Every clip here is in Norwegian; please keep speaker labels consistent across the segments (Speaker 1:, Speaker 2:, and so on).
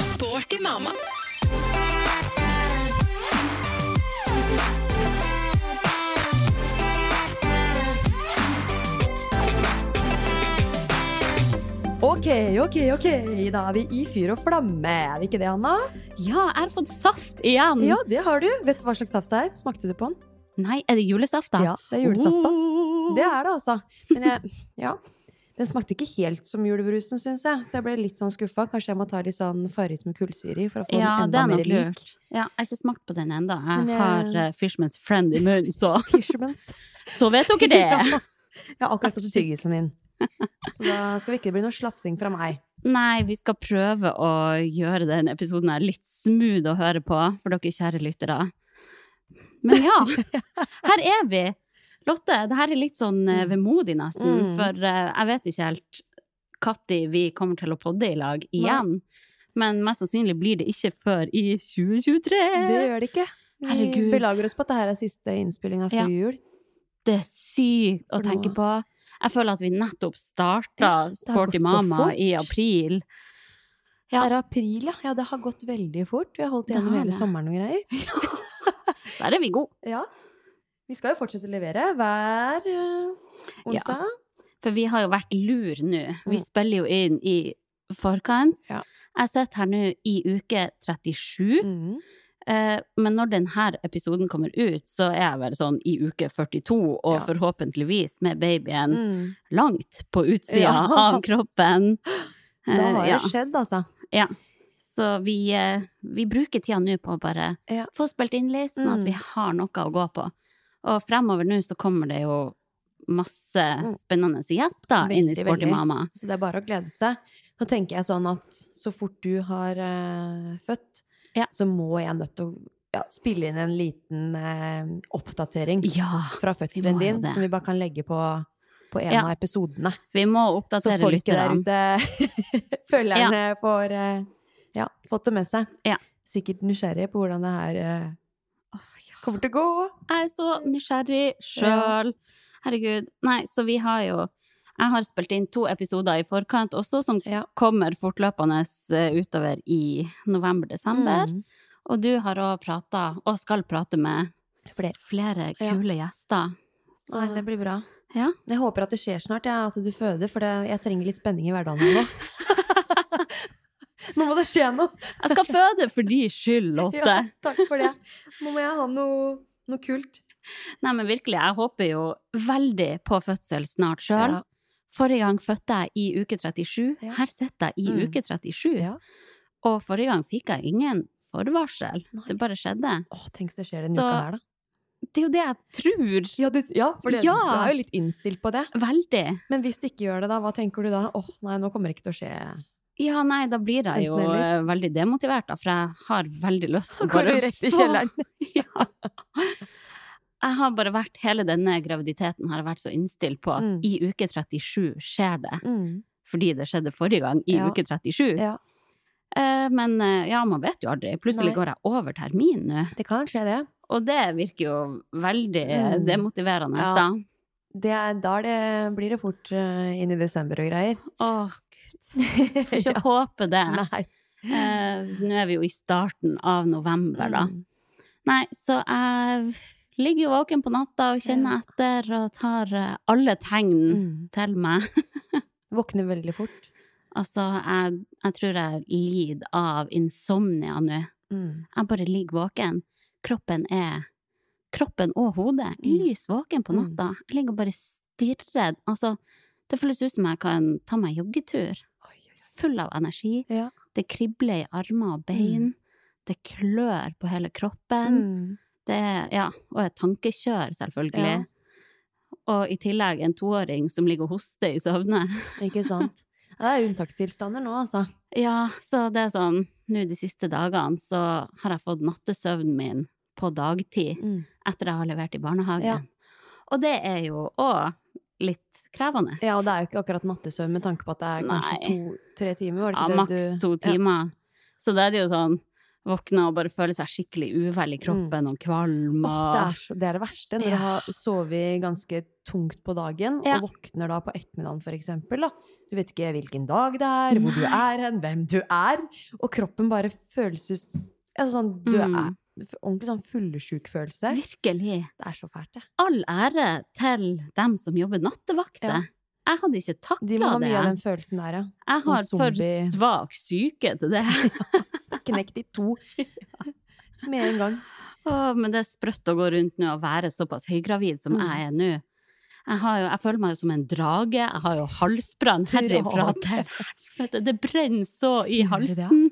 Speaker 1: Sporty mamma.
Speaker 2: Ok, ok, ok. Da er vi i fyr og flamme. Er vi ikke det, Hanna?
Speaker 3: Ja, jeg har fått saft igjen!
Speaker 2: Ja, det har du. Vet du hva slags saft det er? Smakte du på den?
Speaker 3: Nei, er det julesaft, da?
Speaker 2: Ja, det er julesaft, da.
Speaker 3: Oh.
Speaker 2: Det er det, altså. Men jeg Ja. Den smakte ikke helt som julebrusen, syns jeg. Så jeg ble litt sånn skuffa. Kanskje jeg må ta litt sånn Farris med kullsyre i for å få
Speaker 3: ja,
Speaker 2: den
Speaker 3: det
Speaker 2: enda
Speaker 3: er
Speaker 2: mer
Speaker 3: nok
Speaker 2: lik.
Speaker 3: lurt. Ja, jeg har ikke smakt på den ennå.
Speaker 2: Men
Speaker 3: Jeg
Speaker 2: jeg-
Speaker 3: har eh, Fishman's Friend i munnen, så
Speaker 2: Fishermans.
Speaker 3: Så vet dere det!
Speaker 2: Ja. Jeg har akkurat tatt ut tyggisen min. Så da skal det ikke bli noe slafsing fra meg.
Speaker 3: Nei, vi skal prøve å gjøre den episoden her litt smooth å høre på, for dere kjære lyttere. Men ja, her er vi! Lotte, det her er litt sånn eh, vemodig nesten,
Speaker 2: Mm.
Speaker 3: for eh, jeg vet ikke helt når vi kommer til å podde i lag igjen. Men mest sannsynlig blir det ikke før i 2023.
Speaker 2: Det gjør det ikke. Vi
Speaker 3: Eh. Herregud.
Speaker 2: belager oss på at det her er siste innspillinga før
Speaker 3: Ja.
Speaker 2: jul.
Speaker 3: Det er sykt å
Speaker 2: For
Speaker 3: tenke
Speaker 2: nå-
Speaker 3: på. Jeg føler at vi nettopp starta
Speaker 2: Ja, det har gått
Speaker 3: Sporty
Speaker 2: så
Speaker 3: Mama
Speaker 2: fort.
Speaker 3: i april. Ja.
Speaker 2: Det er april, ja. ja. Det har gått veldig fort. Vi har holdt
Speaker 3: Det
Speaker 2: gjennom
Speaker 3: har
Speaker 2: hele
Speaker 3: det.
Speaker 2: sommeren og greier.
Speaker 3: Der er vi gode.
Speaker 2: Ja. Vi skal jo fortsette å levere hver eh, onsdag.
Speaker 3: For vi har jo vært lur nå. Vi
Speaker 2: Mm.
Speaker 3: spiller jo inn i forkant.
Speaker 2: Ja.
Speaker 3: Jeg sitter her nå i uke 37,
Speaker 2: Mm.
Speaker 3: eh, men når denne episoden kommer ut, så er jeg vel sånn i uke 42, og
Speaker 2: Ja.
Speaker 3: forhåpentligvis med babyen
Speaker 2: Mm.
Speaker 3: langt på utsida
Speaker 2: Ja.
Speaker 3: av kroppen.
Speaker 2: Da
Speaker 3: Eh,
Speaker 2: har
Speaker 3: ja.
Speaker 2: det skjedd, altså.
Speaker 3: Så vi, eh, vi bruker tida nå på å bare
Speaker 2: Ja.
Speaker 3: få spilt inn litt, sånn at
Speaker 2: Mm.
Speaker 3: vi har noe å gå på. Og fremover nå så kommer det jo masse
Speaker 2: Mm.
Speaker 3: spennende gjester inn i
Speaker 2: Veldig,
Speaker 3: Sporty
Speaker 2: veldig.
Speaker 3: Mama.
Speaker 2: Så det er bare å glede seg. Nå tenker jeg sånn at så fort du har eh, født,
Speaker 3: Ja.
Speaker 2: så må jeg nødt til å ja, spille inn en liten eh, oppdatering
Speaker 3: Ja!
Speaker 2: fra fødselen
Speaker 3: må jo
Speaker 2: din,
Speaker 3: det.
Speaker 2: som vi bare kan legge på, på en
Speaker 3: Ja.
Speaker 2: av episodene.
Speaker 3: Vi må
Speaker 2: Så
Speaker 3: oppdatere
Speaker 2: folket der
Speaker 3: lytterne.
Speaker 2: ute, følgerne, får eh, ja, fått det med seg.
Speaker 3: Ja.
Speaker 2: Sikkert nysgjerrige på hvordan det her eh, kommer til å gå.
Speaker 3: Jeg er så nysgjerrig sjøl. Herregud. Nei, så vi har jo Jeg har spilt inn to episoder i forkant også, som
Speaker 2: Ja.
Speaker 3: kommer fortløpende eh, utover i november-desember.
Speaker 2: Mm.
Speaker 3: Og du har òg prata, og skal prate med
Speaker 2: Flere.
Speaker 3: flere
Speaker 2: Ja.
Speaker 3: kule gjester. Så
Speaker 2: Nei, det blir bra.
Speaker 3: Ja.
Speaker 2: Jeg håper at det skjer snart, ja, at du føder, for det, jeg trenger litt spenning i hverdagen min nå. nå må det skje noe!
Speaker 3: jeg skal føde for din skyld, Lotte.
Speaker 2: Ja, takk for det. Nå må jeg ha noe, noe kult.
Speaker 3: Nei, men virkelig, jeg håper jo veldig på fødsel snart sjøl.
Speaker 2: Ja.
Speaker 3: Forrige gang fødte jeg i uke 37.
Speaker 2: Ja.
Speaker 3: Her sitter jeg i
Speaker 2: Mm.
Speaker 3: uke 37.
Speaker 2: Ja.
Speaker 3: Og forrige gang fikk jeg ingen forvarsel.
Speaker 2: Nei.
Speaker 3: Det bare skjedde.
Speaker 2: Åh, tenk hvis det skjer denne
Speaker 3: Så-
Speaker 2: uka her, da.
Speaker 3: Det er jo det jeg tror.
Speaker 2: Ja, du, ja for det,
Speaker 3: Ja.
Speaker 2: du er jo litt innstilt på det.
Speaker 3: Veldig.
Speaker 2: Men hvis det ikke gjør det, da, hva tenker du da? Åh, nei, nå kommer det ikke til å skje.
Speaker 3: Ja, nei, da blir jeg jo
Speaker 2: Enten eller.
Speaker 3: eh, veldig demotivert, da, for jeg har veldig lyst til å
Speaker 2: Går
Speaker 3: bare
Speaker 2: du rett i
Speaker 3: få-
Speaker 2: kjelleren?
Speaker 3: ja. Jeg har bare vært, hele denne graviditeten har jeg vært så innstilt på at
Speaker 2: Mm.
Speaker 3: i uke 37 skjer det.
Speaker 2: Mm.
Speaker 3: Fordi det skjedde forrige gang, i
Speaker 2: Ja.
Speaker 3: uke 37.
Speaker 2: Ja.
Speaker 3: Eh, men eh, ja, man vet jo aldri.
Speaker 2: Nei.
Speaker 3: Plutselig går jeg over termin nå.
Speaker 2: Det kan skje, det.
Speaker 3: Og det virker jo veldig eh,
Speaker 2: Mm.
Speaker 3: demotiverende,
Speaker 2: Ja.
Speaker 3: da.
Speaker 2: det er, da er det, blir det fort eh, inn i desember og greier.
Speaker 3: Åh, gud. Får ikke håpe det.
Speaker 2: Nei.
Speaker 3: Eh, nå er vi jo i starten av november, da.
Speaker 2: Mm.
Speaker 3: Nei, så jeg ligger jo våken på natta og kjenner
Speaker 2: Ja.
Speaker 3: etter og tar eh, alle tegn
Speaker 2: Mm.
Speaker 3: til meg.
Speaker 2: Våkner veldig fort.
Speaker 3: Altså, jeg, jeg tror jeg lider av insomnia nå.
Speaker 2: Mm.
Speaker 3: Jeg bare ligger våken. Kroppen er Kroppen og hodet
Speaker 2: Mm.
Speaker 3: lys våken på
Speaker 2: Mm.
Speaker 3: natta. Jeg ligger og bare stirrer. Altså, det føles ut som jeg kan ta meg en joggetur.
Speaker 2: Oi, oi, oi.
Speaker 3: Full av energi.
Speaker 2: Ja.
Speaker 3: Det kribler i armer og bein. Det klør på hele kroppen.
Speaker 2: Mm.
Speaker 3: Det, er- ja, og et tankekjør, selvfølgelig.
Speaker 2: Ja.
Speaker 3: Og i tillegg en toåring som ligger og hoster i søvne.
Speaker 2: Ikke sant? Ja, Det er unntakstilstander nå, altså.
Speaker 3: Ja, så det er sånn Nå de siste dagene så har jeg fått nattesøvnen min på dagtid
Speaker 2: Mm.
Speaker 3: etter jeg har levert i barnehagen.
Speaker 2: Ja.
Speaker 3: Og det er jo òg litt krevende.
Speaker 2: Ja, og det er jo ikke akkurat nattesøvn med tanke på at det er kanskje
Speaker 3: Nei.
Speaker 2: to-tre timer. Var det
Speaker 3: Ja,
Speaker 2: ikke det
Speaker 3: maks
Speaker 2: du-
Speaker 3: to
Speaker 2: Ja.
Speaker 3: timer. Så da er det jo sånn Våkne og bare føle seg skikkelig uvel i kroppen og kvalm
Speaker 2: Mm. Åh, det,
Speaker 3: og
Speaker 2: er så, det er det verste. Når
Speaker 3: Ja.
Speaker 2: du har sovet ganske tungt på dagen,
Speaker 3: Ja.
Speaker 2: og våkner da på ettermiddagen for eksempel, da. Du vet ikke hvilken dag det er, hvor du
Speaker 3: Nei.
Speaker 2: er hen, hvem du er. Og kroppen bare føles ut altså sånn, Du
Speaker 3: Mm.
Speaker 2: er ordentlig sånn fullesjuk følelse.
Speaker 3: Virkelig.
Speaker 2: Det er så fælt, det.
Speaker 3: All ære til dem som jobber nattevakter.
Speaker 2: Ja.
Speaker 3: Jeg hadde ikke
Speaker 2: De må
Speaker 3: takla
Speaker 2: ha
Speaker 3: det.
Speaker 2: mye av den følelsen der, ja.
Speaker 3: Jeg har for
Speaker 2: zombie-
Speaker 3: svak syke til det.
Speaker 2: Knekt i to med en gang.
Speaker 3: Åh, men det er sprøtt å gå rundt nå og være såpass høygravid som
Speaker 2: Mm.
Speaker 3: jeg er nå. Jeg, har jo, jeg føler meg jo som en drage. Jeg har jo halsbrann herifra
Speaker 2: Drage.
Speaker 3: til helvete. Det brenner så i
Speaker 2: Gjør det det, ja?
Speaker 3: halsen.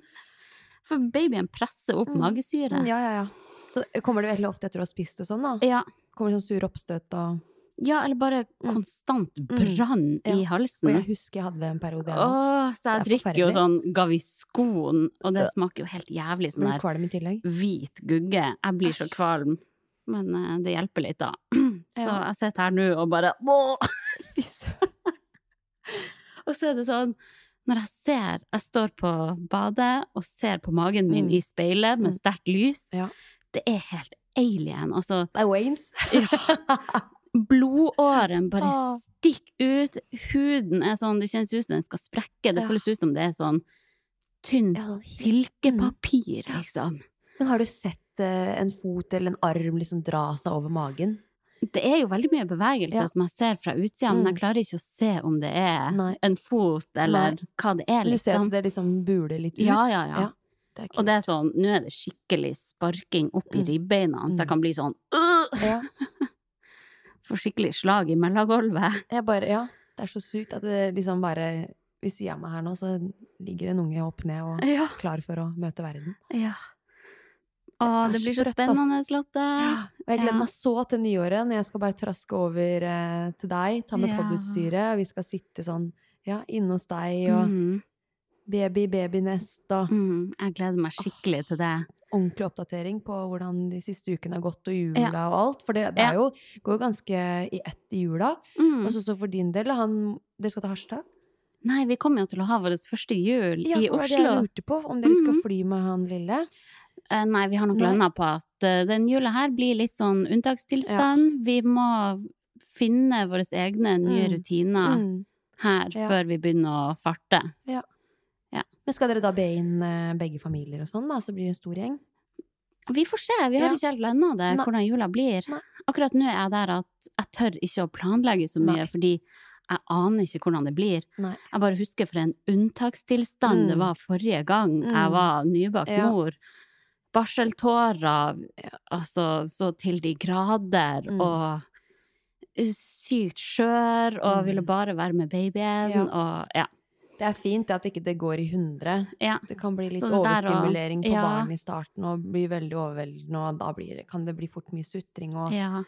Speaker 3: For babyen presser opp
Speaker 2: Mm.
Speaker 3: magesyre.
Speaker 2: Ja, ja, ja. Så eh, kommer det veldig ofte etter å ha spist og sånn, da.
Speaker 3: Ja.
Speaker 2: Kommer det sånn sure oppstøt og
Speaker 3: Ja, eller bare
Speaker 2: Mm.
Speaker 3: konstant brann
Speaker 2: Ja.
Speaker 3: i
Speaker 2: Og jeg
Speaker 3: halsen.
Speaker 2: husker jeg hadde det en periode. jeg også.
Speaker 3: Åh, så
Speaker 2: Det
Speaker 3: jeg
Speaker 2: er
Speaker 3: drikker jo
Speaker 2: forferdelig.
Speaker 3: sånn Gaviscon, og det smaker jo helt jævlig sånn
Speaker 2: Ble
Speaker 3: der
Speaker 2: kvalm i tillegg.
Speaker 3: hvit gugge. Jeg blir så
Speaker 2: Æsj.
Speaker 3: kvalm. Men eh, det hjelper litt, da. Så
Speaker 2: Ja.
Speaker 3: jeg sitter her nå og bare Åh!
Speaker 2: Fy søren.
Speaker 3: Og så er det sånn Når jeg ser Jeg står på badet og ser på magen min
Speaker 2: Mm.
Speaker 3: i speilet med
Speaker 2: Mm.
Speaker 3: sterkt lys.
Speaker 2: Ja.
Speaker 3: Det er helt alien. Altså,
Speaker 2: Det er Waynes.
Speaker 3: blodåren bare
Speaker 2: Åh.
Speaker 3: stikker ut. Huden er sånn Det kjennes ut som den skal sprekke. Det
Speaker 2: Ja.
Speaker 3: føles ut som det er sånn tynt
Speaker 2: Ja, sånn-
Speaker 3: silkepapir,
Speaker 2: Ja.
Speaker 3: liksom.
Speaker 2: Men har du sett eh, en fot eller en arm liksom dra seg over magen?
Speaker 3: Det er jo veldig mye bevegelse
Speaker 2: Ja.
Speaker 3: som jeg ser fra utsida, men jeg
Speaker 2: Mm.
Speaker 3: klarer ikke å se om det er
Speaker 2: Nei.
Speaker 3: en fot eller hva det er,
Speaker 2: Men Du ser
Speaker 3: liksom.
Speaker 2: at det liksom buler litt ut?
Speaker 3: Ja, ja, ja.
Speaker 2: Ja, Det er
Speaker 3: Og
Speaker 2: kult.
Speaker 3: det er sånn, nå er det skikkelig sparking opp i
Speaker 2: Mm.
Speaker 3: ribbeina, så jeg
Speaker 2: Mm.
Speaker 3: kan bli sånn øh,
Speaker 2: ja.
Speaker 3: Får skikkelig slag i mellomgulvet.
Speaker 2: Jeg bare, ja, det er så sykt at det liksom bare Ved siden av meg her nå, så ligger en unge opp ned og
Speaker 3: Ja.
Speaker 2: klar for å møte verden.
Speaker 3: ja. Å,
Speaker 2: Det er
Speaker 3: det blir så
Speaker 2: sprøtt, ass.
Speaker 3: spennende, Lotte.
Speaker 2: Og jeg gleder
Speaker 3: Ja.
Speaker 2: meg så til nyåret, når jeg skal bare traske over eh, til deg, ta med
Speaker 3: Ja.
Speaker 2: podutstyret, og vi skal sitte sånn ja, inne hos deg, og
Speaker 3: Mm,
Speaker 2: baby, babynest, og
Speaker 3: mm, jeg gleder meg skikkelig til det.
Speaker 2: ordentlig oppdatering på hvordan de siste ukene har gått, og jula og alt. For det, det
Speaker 3: Ja.
Speaker 2: er jo, går jo ganske i ett i jula.
Speaker 3: Mm.
Speaker 2: Og så så for din del, han Dere skal til Harstad?
Speaker 3: Nei, vi kommer jo til å ha vår første jul i
Speaker 2: for det var det
Speaker 3: Oslo.
Speaker 2: jeg lurte på. Om dere skal
Speaker 3: Mhm.
Speaker 2: fly med han lille?
Speaker 3: Eh, Nei, vi har nok
Speaker 2: Nei.
Speaker 3: landa på at eh, den jula her blir litt sånn unntakstilstand. Vi må finne våre egne nye
Speaker 2: Mm.
Speaker 3: rutiner
Speaker 2: Mm.
Speaker 3: her
Speaker 2: Ja.
Speaker 3: før vi begynner å farte.
Speaker 2: Men skal dere da be inn eh, begge familier og sånn, da? Så blir det en stor gjeng?
Speaker 3: Vi får se, vi har
Speaker 2: Ja.
Speaker 3: ikke helt landa det,
Speaker 2: Nei.
Speaker 3: hvordan jula blir.
Speaker 2: Nei.
Speaker 3: Akkurat nå er jeg der at jeg tør ikke å planlegge så mye,
Speaker 2: Nei.
Speaker 3: fordi jeg aner ikke hvordan det blir.
Speaker 2: Nei.
Speaker 3: Jeg bare husker for en unntakstilstand det
Speaker 2: Mm.
Speaker 3: var forrige gang
Speaker 2: Mm.
Speaker 3: jeg var nybakt
Speaker 2: Ja.
Speaker 3: mor. Barseltårer, altså så til de grader,
Speaker 2: Mm.
Speaker 3: og sykt skjør, og
Speaker 2: Mm.
Speaker 3: ville bare være med babyen,
Speaker 2: Ja.
Speaker 3: og ja.
Speaker 2: Det er fint det at ikke det går i hundre.
Speaker 3: Ja.
Speaker 2: Det kan bli litt
Speaker 3: Så det der og-
Speaker 2: overstimulering på
Speaker 3: ja.
Speaker 2: barn i starten, og bli veldig overveldende, og da blir, det- kan det bli fort mye sutring og
Speaker 3: ja.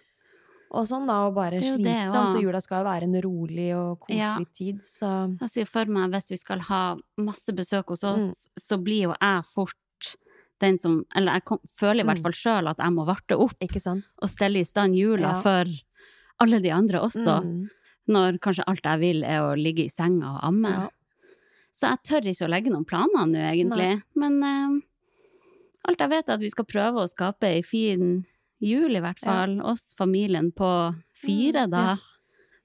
Speaker 2: Og sånn da, og bare
Speaker 3: Det er jo det,
Speaker 2: slitsomt.
Speaker 3: og-
Speaker 2: Og jula skal jo være en rolig og koselig
Speaker 3: Ja.
Speaker 2: tid, så
Speaker 3: Jeg ser for meg hvis vi skal ha masse besøk hos oss,
Speaker 2: Mm.
Speaker 3: så blir jo jeg fort den som Eller jeg kom, føler i hvert
Speaker 2: Mm.
Speaker 3: fall sjøl at jeg må varte opp
Speaker 2: Ikke sant?
Speaker 3: og stelle i stand jula
Speaker 2: Ja.
Speaker 3: for alle de andre også,
Speaker 2: Mm.
Speaker 3: når kanskje alt jeg vil er å ligge i senga og amme.
Speaker 2: Ja.
Speaker 3: Så jeg tør ikke å legge noen planer nå, egentlig. Men eh, alt jeg vet, er at vi skal prøve å skape ei fin jul, i hvert fall. Oss, familien på fire,
Speaker 2: Mm,
Speaker 3: da.
Speaker 2: ja.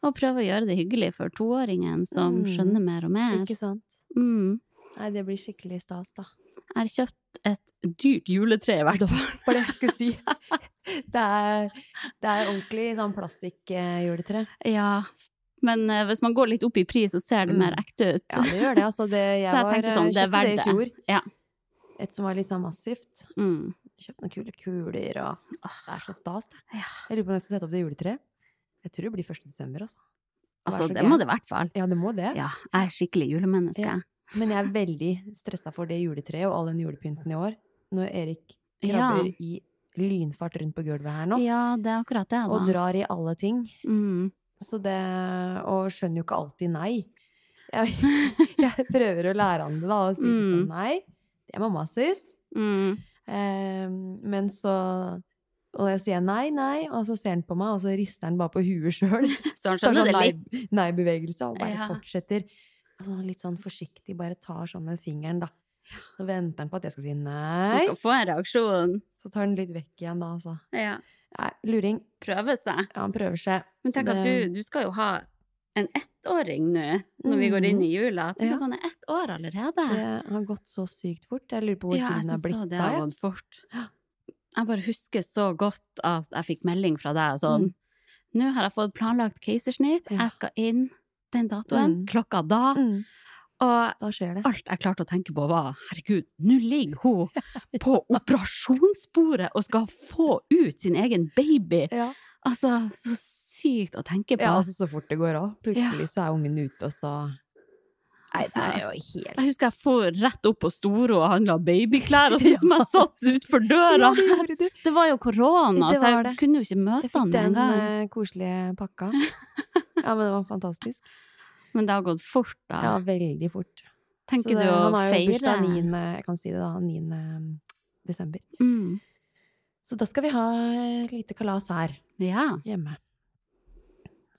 Speaker 3: Og prøve å gjøre det hyggelig for toåringen, som
Speaker 2: Mm.
Speaker 3: skjønner mer og mer.
Speaker 2: Ikke sant?
Speaker 3: Mm.
Speaker 2: Nei, det blir skikkelig stas, da.
Speaker 3: Jeg har kjøpt et dyrt juletre, i hvert fall.
Speaker 2: For det jeg skulle si. Det er, det er ordentlig sånn plastikkjuletre.
Speaker 3: Ja. Men eh, hvis man går litt opp i pris, så ser det
Speaker 2: Mm.
Speaker 3: mer ekte ut.
Speaker 2: Ja, det gjør det. Altså, det jeg,
Speaker 3: Så jeg
Speaker 2: var,
Speaker 3: tenkte sånn, det er
Speaker 2: kjøpte
Speaker 3: verdt
Speaker 2: det
Speaker 3: det.
Speaker 2: i fjor.
Speaker 3: Ja.
Speaker 2: Et som var litt sånn massivt.
Speaker 3: Mm.
Speaker 2: Kjøpte noen kule kuler, og
Speaker 3: Åh.
Speaker 2: det er så stas, det.
Speaker 3: Ja.
Speaker 2: Jeg lurer på om jeg skal sette opp det juletreet. Jeg tror det blir 1. desember, altså. Det er
Speaker 3: Altså,
Speaker 2: så
Speaker 3: det
Speaker 2: gøy.
Speaker 3: må det i hvert fall.
Speaker 2: Ja, det må det.
Speaker 3: Ja, jeg er skikkelig julemenneske.
Speaker 2: Ja. Men jeg er veldig stressa for det juletreet og all den julepynten i år. Når Erik
Speaker 3: Ja.
Speaker 2: krabber i lynfart rundt på gulvet her nå.
Speaker 3: Ja, det er akkurat det, da.
Speaker 2: Og drar i alle ting.
Speaker 3: Mm.
Speaker 2: Så det, og skjønner jo ikke alltid nei. Jeg, jeg prøver å lære han det, da, og si det sånn
Speaker 3: Mm.
Speaker 2: nei. Det er mamma sus.
Speaker 3: Mm.
Speaker 2: Eh, men så Og jeg sier nei, nei, og så ser han på meg, og så rister han bare på huet sjøl.
Speaker 3: Så
Speaker 2: Tar
Speaker 3: han skjønner
Speaker 2: sånn
Speaker 3: det litt.
Speaker 2: nei- nei-bevegelse og bare
Speaker 3: Ja.
Speaker 2: fortsetter. Altså, han er litt sånn forsiktig, bare tar sånn med fingeren, da. Så venter han på at jeg skal si
Speaker 3: Han
Speaker 2: nei.
Speaker 3: skal få en reaksjon.
Speaker 2: Så tar han litt vekk igjen, da, altså.
Speaker 3: Ja.
Speaker 2: Nei, luring.
Speaker 3: Prøve seg.
Speaker 2: Ja, han prøver seg.
Speaker 3: Men
Speaker 2: Så
Speaker 3: tenk at
Speaker 2: det- Mm.
Speaker 3: du, du skal jo ha en ettåring nå, når vi går inn i jula. Tenk
Speaker 2: Ja.
Speaker 3: at han er ett år allerede.
Speaker 2: Det har gått så sykt fort. Jeg lurer på hvor
Speaker 3: Ah. Ja, jeg
Speaker 2: tiden har
Speaker 3: synes
Speaker 2: blitt
Speaker 3: også det
Speaker 2: da,
Speaker 3: har
Speaker 2: jeg.
Speaker 3: gått fort.
Speaker 2: Ja.
Speaker 3: Jeg bare husker så godt at jeg fikk melding fra deg sånn Nå har jeg fått planlagt keisersnitt,
Speaker 2: Mm. Ja.
Speaker 3: jeg skal inn den datoen,
Speaker 2: Mm.
Speaker 3: klokka da.
Speaker 2: Mm,
Speaker 3: Og
Speaker 2: da skjer det.
Speaker 3: alt jeg klarte å tenke på, var herregud, nå ligger hun på operasjonsbordet og skal få ut sin egen baby!
Speaker 2: Ja.
Speaker 3: Altså, så sykt å tenke på.
Speaker 2: ja, altså så fort det går òg. Plutselig så er ungen ute, og så Nei, det er jo helt
Speaker 3: Altså, Jeg husker jeg for rett opp på Storo og handla babyklær, og så som jeg satt utfor døra!
Speaker 2: Ja, det gjorde du.
Speaker 3: Det var jo korona,
Speaker 2: Det
Speaker 3: så jeg
Speaker 2: var det.
Speaker 3: kunne jo ikke
Speaker 2: Jeg
Speaker 3: møte
Speaker 2: fikk
Speaker 3: han
Speaker 2: den
Speaker 3: engang.
Speaker 2: eh, koselige pakka. Ja, men det var fantastisk.
Speaker 3: Men det har gått fort, da.
Speaker 2: Ja, veldig fort. Så
Speaker 3: Tenker
Speaker 2: det-
Speaker 3: du
Speaker 2: han
Speaker 3: å
Speaker 2: har jo
Speaker 3: feire?
Speaker 2: bursdag 9. Jeg kan si det da, 9. desember.
Speaker 3: Mm.
Speaker 2: Så da skal vi ha et lite kalas her
Speaker 3: Ja.
Speaker 2: hjemme.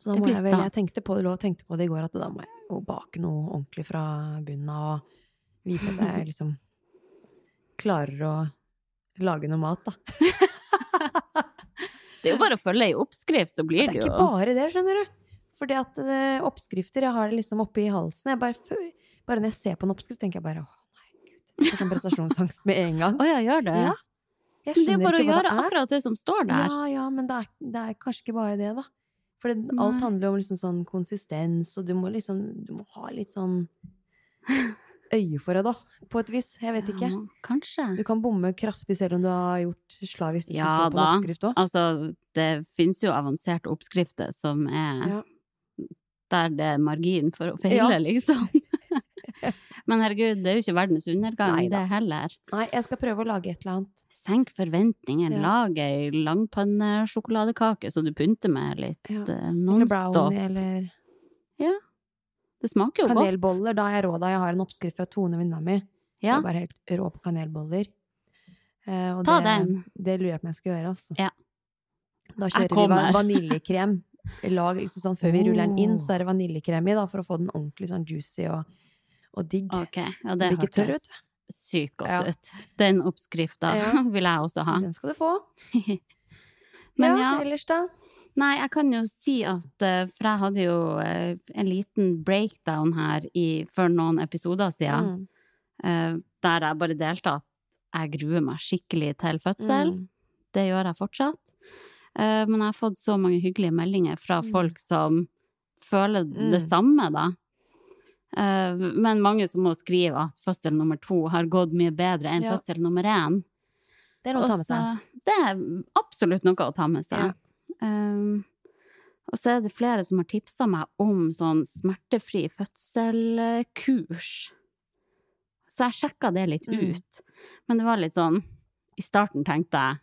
Speaker 2: Så da
Speaker 3: Det
Speaker 2: må
Speaker 3: blir
Speaker 2: jeg vel, jeg
Speaker 3: stas.
Speaker 2: tenkte på, lå og tenkte på det i går, at da må jeg jo bake noe ordentlig fra bunnen av og vise at jeg liksom klarer å lage noe mat, da.
Speaker 3: Det er jo bare å følge ei oppskrift, så blir
Speaker 2: Det er
Speaker 3: det
Speaker 2: ikke
Speaker 3: jo
Speaker 2: bare det, skjønner du. Fordi at eh, oppskrifter, jeg har det liksom oppe i halsen. Jeg bare, fø- bare når jeg ser på en oppskrift, tenker jeg bare åh, nei, gud. Jeg får sånn prestasjonsangst med en gang.
Speaker 3: Å ja, gjør det?
Speaker 2: Ja, Jeg
Speaker 3: Men det er
Speaker 2: skjønner
Speaker 3: bare å
Speaker 2: ikke hva
Speaker 3: gjøre
Speaker 2: det er.
Speaker 3: akkurat det som står der.
Speaker 2: Ja, ja, men det er, det er kanskje ikke bare det, da. For det, alt
Speaker 3: Nei.
Speaker 2: handler jo om liksom sånn konsistens, og du må liksom du må ha litt sånn øye for det, da. På et vis. Jeg vet ikke.
Speaker 3: Ja, kanskje.
Speaker 2: Du kan bomme kraftig selv om du har gjort slavisk det som
Speaker 3: Ja,
Speaker 2: står på en
Speaker 3: da.
Speaker 2: oppskrift òg.
Speaker 3: Altså, det fins jo avanserte oppskrifter som er
Speaker 2: Ja.
Speaker 3: der det er margin for å
Speaker 2: Ja.
Speaker 3: feile, liksom. Men herregud, det er jo ikke verdens undergang,
Speaker 2: Nei da.
Speaker 3: det heller.
Speaker 2: Nei, jeg skal prøve å lage et eller annet.
Speaker 3: Senk forventningene,
Speaker 2: Ja.
Speaker 3: lag ei langpannesjokoladekake så du pynter med litt
Speaker 2: Ja.
Speaker 3: eh,
Speaker 2: Eller
Speaker 3: Nonstop.
Speaker 2: brownie eller
Speaker 3: Det smaker jo godt.
Speaker 2: kanelboller. Da er jeg rå, da. Jeg har en oppskrift fra Tone, venninna mi. Det
Speaker 3: Ja,
Speaker 2: er bare helt rå på kanelboller. Eh, og
Speaker 3: ta
Speaker 2: det-
Speaker 3: den.
Speaker 2: Det lurer jeg på om jeg skal gjøre, altså.
Speaker 3: Ja.
Speaker 2: Da kjører vi
Speaker 3: kommer.
Speaker 2: va- vaniljekrem. Lag liksom sånn, før vi ruller den inn,
Speaker 3: Oh.
Speaker 2: så er det vaniljekrem i, da, for å få den ordentlig sånn juicy og, og digg.
Speaker 3: Ok, ja, det
Speaker 2: Den blir ikke tørr,
Speaker 3: hørtes sykt godt
Speaker 2: Ja.
Speaker 3: ut. Den oppskrifta
Speaker 2: Ja.
Speaker 3: vil jeg også ha.
Speaker 2: Den skal du få.
Speaker 3: Men ja,
Speaker 2: ja, ellers da?
Speaker 3: nei, jeg kan jo si at eh, For jeg hadde jo eh, en liten breakdown her i, for noen episoder siden,
Speaker 2: Mm,
Speaker 3: eh, der jeg bare delte at jeg gruer meg skikkelig til fødsel.
Speaker 2: mm.
Speaker 3: Det gjør jeg fortsatt. Eh, Men jeg har fått så mange hyggelige meldinger fra
Speaker 2: Mm.
Speaker 3: folk som føler
Speaker 2: Mm.
Speaker 3: det samme, da. Eh, Men mange som må skrive at fødsel nummer to har gått mye bedre enn
Speaker 2: Ja.
Speaker 3: fødsel nummer én.
Speaker 2: Det er noe å ta med seg.
Speaker 3: Og så- Det er absolutt noe å ta med seg.
Speaker 2: Ja.
Speaker 3: Um, og så er det flere som har tipsa meg om sånn smertefri fødselkurs. Så jeg sjekka det litt
Speaker 2: Mm.
Speaker 3: ut. Men det var litt sånn I starten tenkte jeg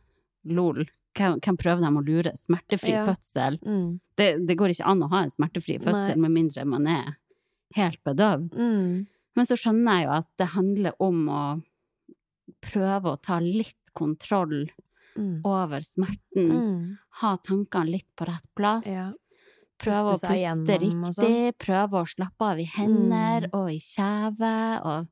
Speaker 3: lol, hvem hvem prøver de å lure? Smertefri
Speaker 2: Ja.
Speaker 3: fødsel?
Speaker 2: Mm.
Speaker 3: Det, det går ikke an å ha en smertefri fødsel med mindre man er helt bedøvd.
Speaker 2: Mm.
Speaker 3: Men så skjønner jeg jo at det handler om å prøve å ta litt kontroll
Speaker 2: Mm.
Speaker 3: over smerten.
Speaker 2: Mm.
Speaker 3: Ha tankene litt på rett plass.
Speaker 2: Ja.
Speaker 3: Prøve å
Speaker 2: Puste seg
Speaker 3: puste
Speaker 2: gjennom og sånn.
Speaker 3: riktig. Prøve å slappe av i hender
Speaker 2: Mm.
Speaker 3: og i kjeve. Og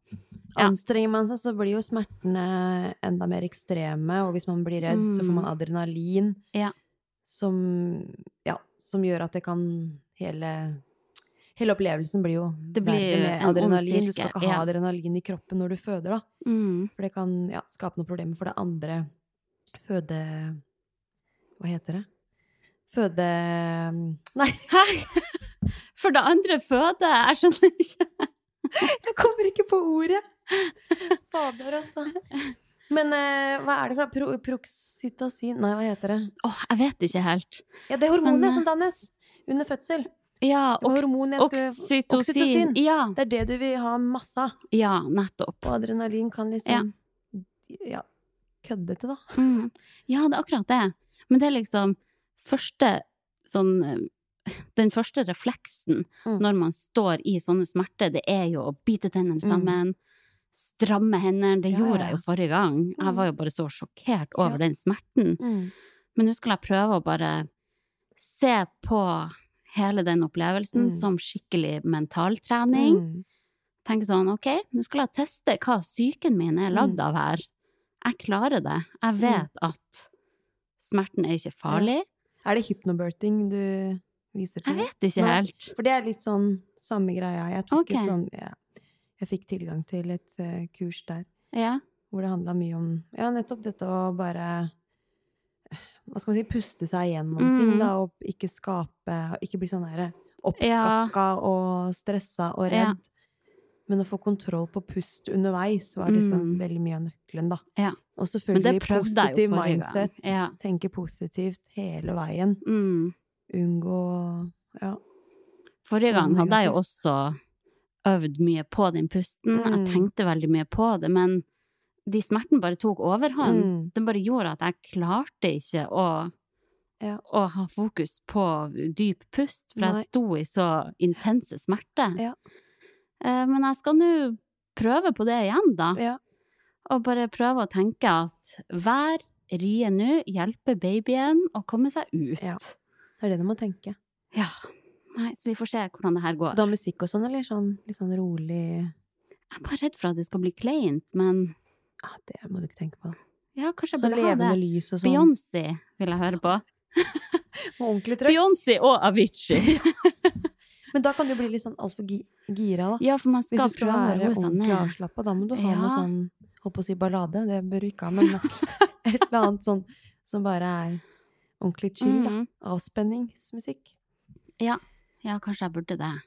Speaker 3: Ja.
Speaker 2: Anstrenger man seg, så blir jo smertene enda mer ekstreme, og hvis man blir redd, så får
Speaker 3: Mm.
Speaker 2: man adrenalin
Speaker 3: Ja.
Speaker 2: som, ja, som gjør at det kan hele, hele opplevelsen blir jo
Speaker 3: Det blir
Speaker 2: verre med
Speaker 3: en ond
Speaker 2: adrenalin. Du skal
Speaker 3: sirkel,
Speaker 2: ikke ha
Speaker 3: ja.
Speaker 2: adrenalin i kroppen når du føder, da.
Speaker 3: mm,
Speaker 2: For det kan ja, skape noen problemer for det andre føde... Hva heter det? Føde... Nei,
Speaker 3: Hæ? For det andre føde? Jeg skjønner ikke.
Speaker 2: jeg kommer ikke på ordet! Fader, altså. Men eh, hva er det for pro proxytocin? Nei, hva heter det?
Speaker 3: Åh, jeg vet ikke helt.
Speaker 2: Ja, det er hormonet
Speaker 3: Men, eh,
Speaker 2: som dannes under fødsel.
Speaker 3: Ja,
Speaker 2: Det var
Speaker 3: oks
Speaker 2: hormon jeg skulle-
Speaker 3: oksytocin.
Speaker 2: oksytocin.
Speaker 3: Ja,
Speaker 2: Det er det du vil ha masse av.
Speaker 3: ja, nettopp.
Speaker 2: Og adrenalin kan liksom ja. køddete, da.
Speaker 3: Mm. Ja, det er akkurat det. Men det er liksom første sånn eh, Den første refleksen
Speaker 2: Mm.
Speaker 3: når man står i sånne smerter, det er jo å bite tennene
Speaker 2: Mm.
Speaker 3: sammen, stramme hendene. Det
Speaker 2: Ja, ja,
Speaker 3: gjorde jeg jo forrige gang.
Speaker 2: Mm.
Speaker 3: Jeg var jo bare så sjokkert over
Speaker 2: Ja.
Speaker 3: den smerten. Men nå skal jeg prøve å bare se på hele den opplevelsen
Speaker 2: Mm.
Speaker 3: som skikkelig mentaltrening.
Speaker 2: Mm.
Speaker 3: Tenke sånn, ok, nå skal jeg teste hva psyken min er lagd
Speaker 2: Mm.
Speaker 3: av her. Jeg klarer det. Jeg vet at smerten er ikke farlig.
Speaker 2: Er det hypnobirthing du viser til?
Speaker 3: Jeg vet ikke
Speaker 2: Nei.
Speaker 3: helt.
Speaker 2: For det er litt sånn samme greia. Jeg tok
Speaker 3: Ok.
Speaker 2: et sånn ja, Jeg fikk tilgang til et eh, kurs der
Speaker 3: Ja.
Speaker 2: hvor det handla mye om ja, nettopp dette å bare eh, Hva skal man si Puste seg gjennom ting,
Speaker 3: Mm.
Speaker 2: da, og ikke skape og Ikke bli sånn der oppskakka og stressa og
Speaker 3: Ja.
Speaker 2: redd. Men å få kontroll på pust underveis var liksom
Speaker 3: Mm.
Speaker 2: veldig mye av nøkkelen, da.
Speaker 3: Ja.
Speaker 2: Og
Speaker 3: Men det
Speaker 2: selvfølgelig
Speaker 3: prøvde jeg jo
Speaker 2: positiv
Speaker 3: forrige gang.
Speaker 2: mindset.
Speaker 3: Ja.
Speaker 2: Tenke positivt hele veien.
Speaker 3: Mm.
Speaker 2: Unngå Ja.
Speaker 3: Forrige gang
Speaker 2: Mm,
Speaker 3: hadde jeg jo
Speaker 2: negativt.
Speaker 3: også øvd mye på den pusten. Jeg
Speaker 2: Mm.
Speaker 3: tenkte veldig mye på det, men de smertene bare tok overhånd.
Speaker 2: Mm.
Speaker 3: Den bare gjorde at jeg klarte ikke å,
Speaker 2: Ja.
Speaker 3: å ha fokus på dyp pust, for
Speaker 2: Nei.
Speaker 3: jeg sto i så intense smerter.
Speaker 2: Ja.
Speaker 3: Eh, Men jeg skal nå prøve på det igjen, da.
Speaker 2: Ja.
Speaker 3: Og bare prøve å tenke at hver rie nå hjelper babyen å komme seg ut.
Speaker 2: Ja. Det er det du må tenke.
Speaker 3: Ja. Nei, så vi får se hvordan det her
Speaker 2: Skal
Speaker 3: går.
Speaker 2: du ha musikk og sånn, eller sånn, litt sånn rolig
Speaker 3: Jeg er bare redd for at det skal bli kleint, men
Speaker 2: ah, Det må du ikke tenke på.
Speaker 3: ja, kanskje jeg
Speaker 2: Så
Speaker 3: burde ha
Speaker 2: levende
Speaker 3: det.
Speaker 2: lys og sånn.
Speaker 3: Beyoncé vil jeg høre på.
Speaker 2: Og ordentlig trøkk.
Speaker 3: Beyoncé og Avicii!
Speaker 2: Men da kan du bli litt sånn altfor gi gira, da.
Speaker 3: Ja, for man
Speaker 2: Hvis
Speaker 3: skal
Speaker 2: du skal
Speaker 3: prøve å
Speaker 2: være
Speaker 3: roe seg
Speaker 2: ordentlig
Speaker 3: ned.
Speaker 2: avslappa, da må du ha
Speaker 3: Ja.
Speaker 2: noe sånn Holdt på å si ballade, det bør du ikke ha, men et eller annet sånn som bare er ordentlig chill, da.
Speaker 3: Mm.
Speaker 2: Avspenningsmusikk.
Speaker 3: Ja, kanskje jeg burde det.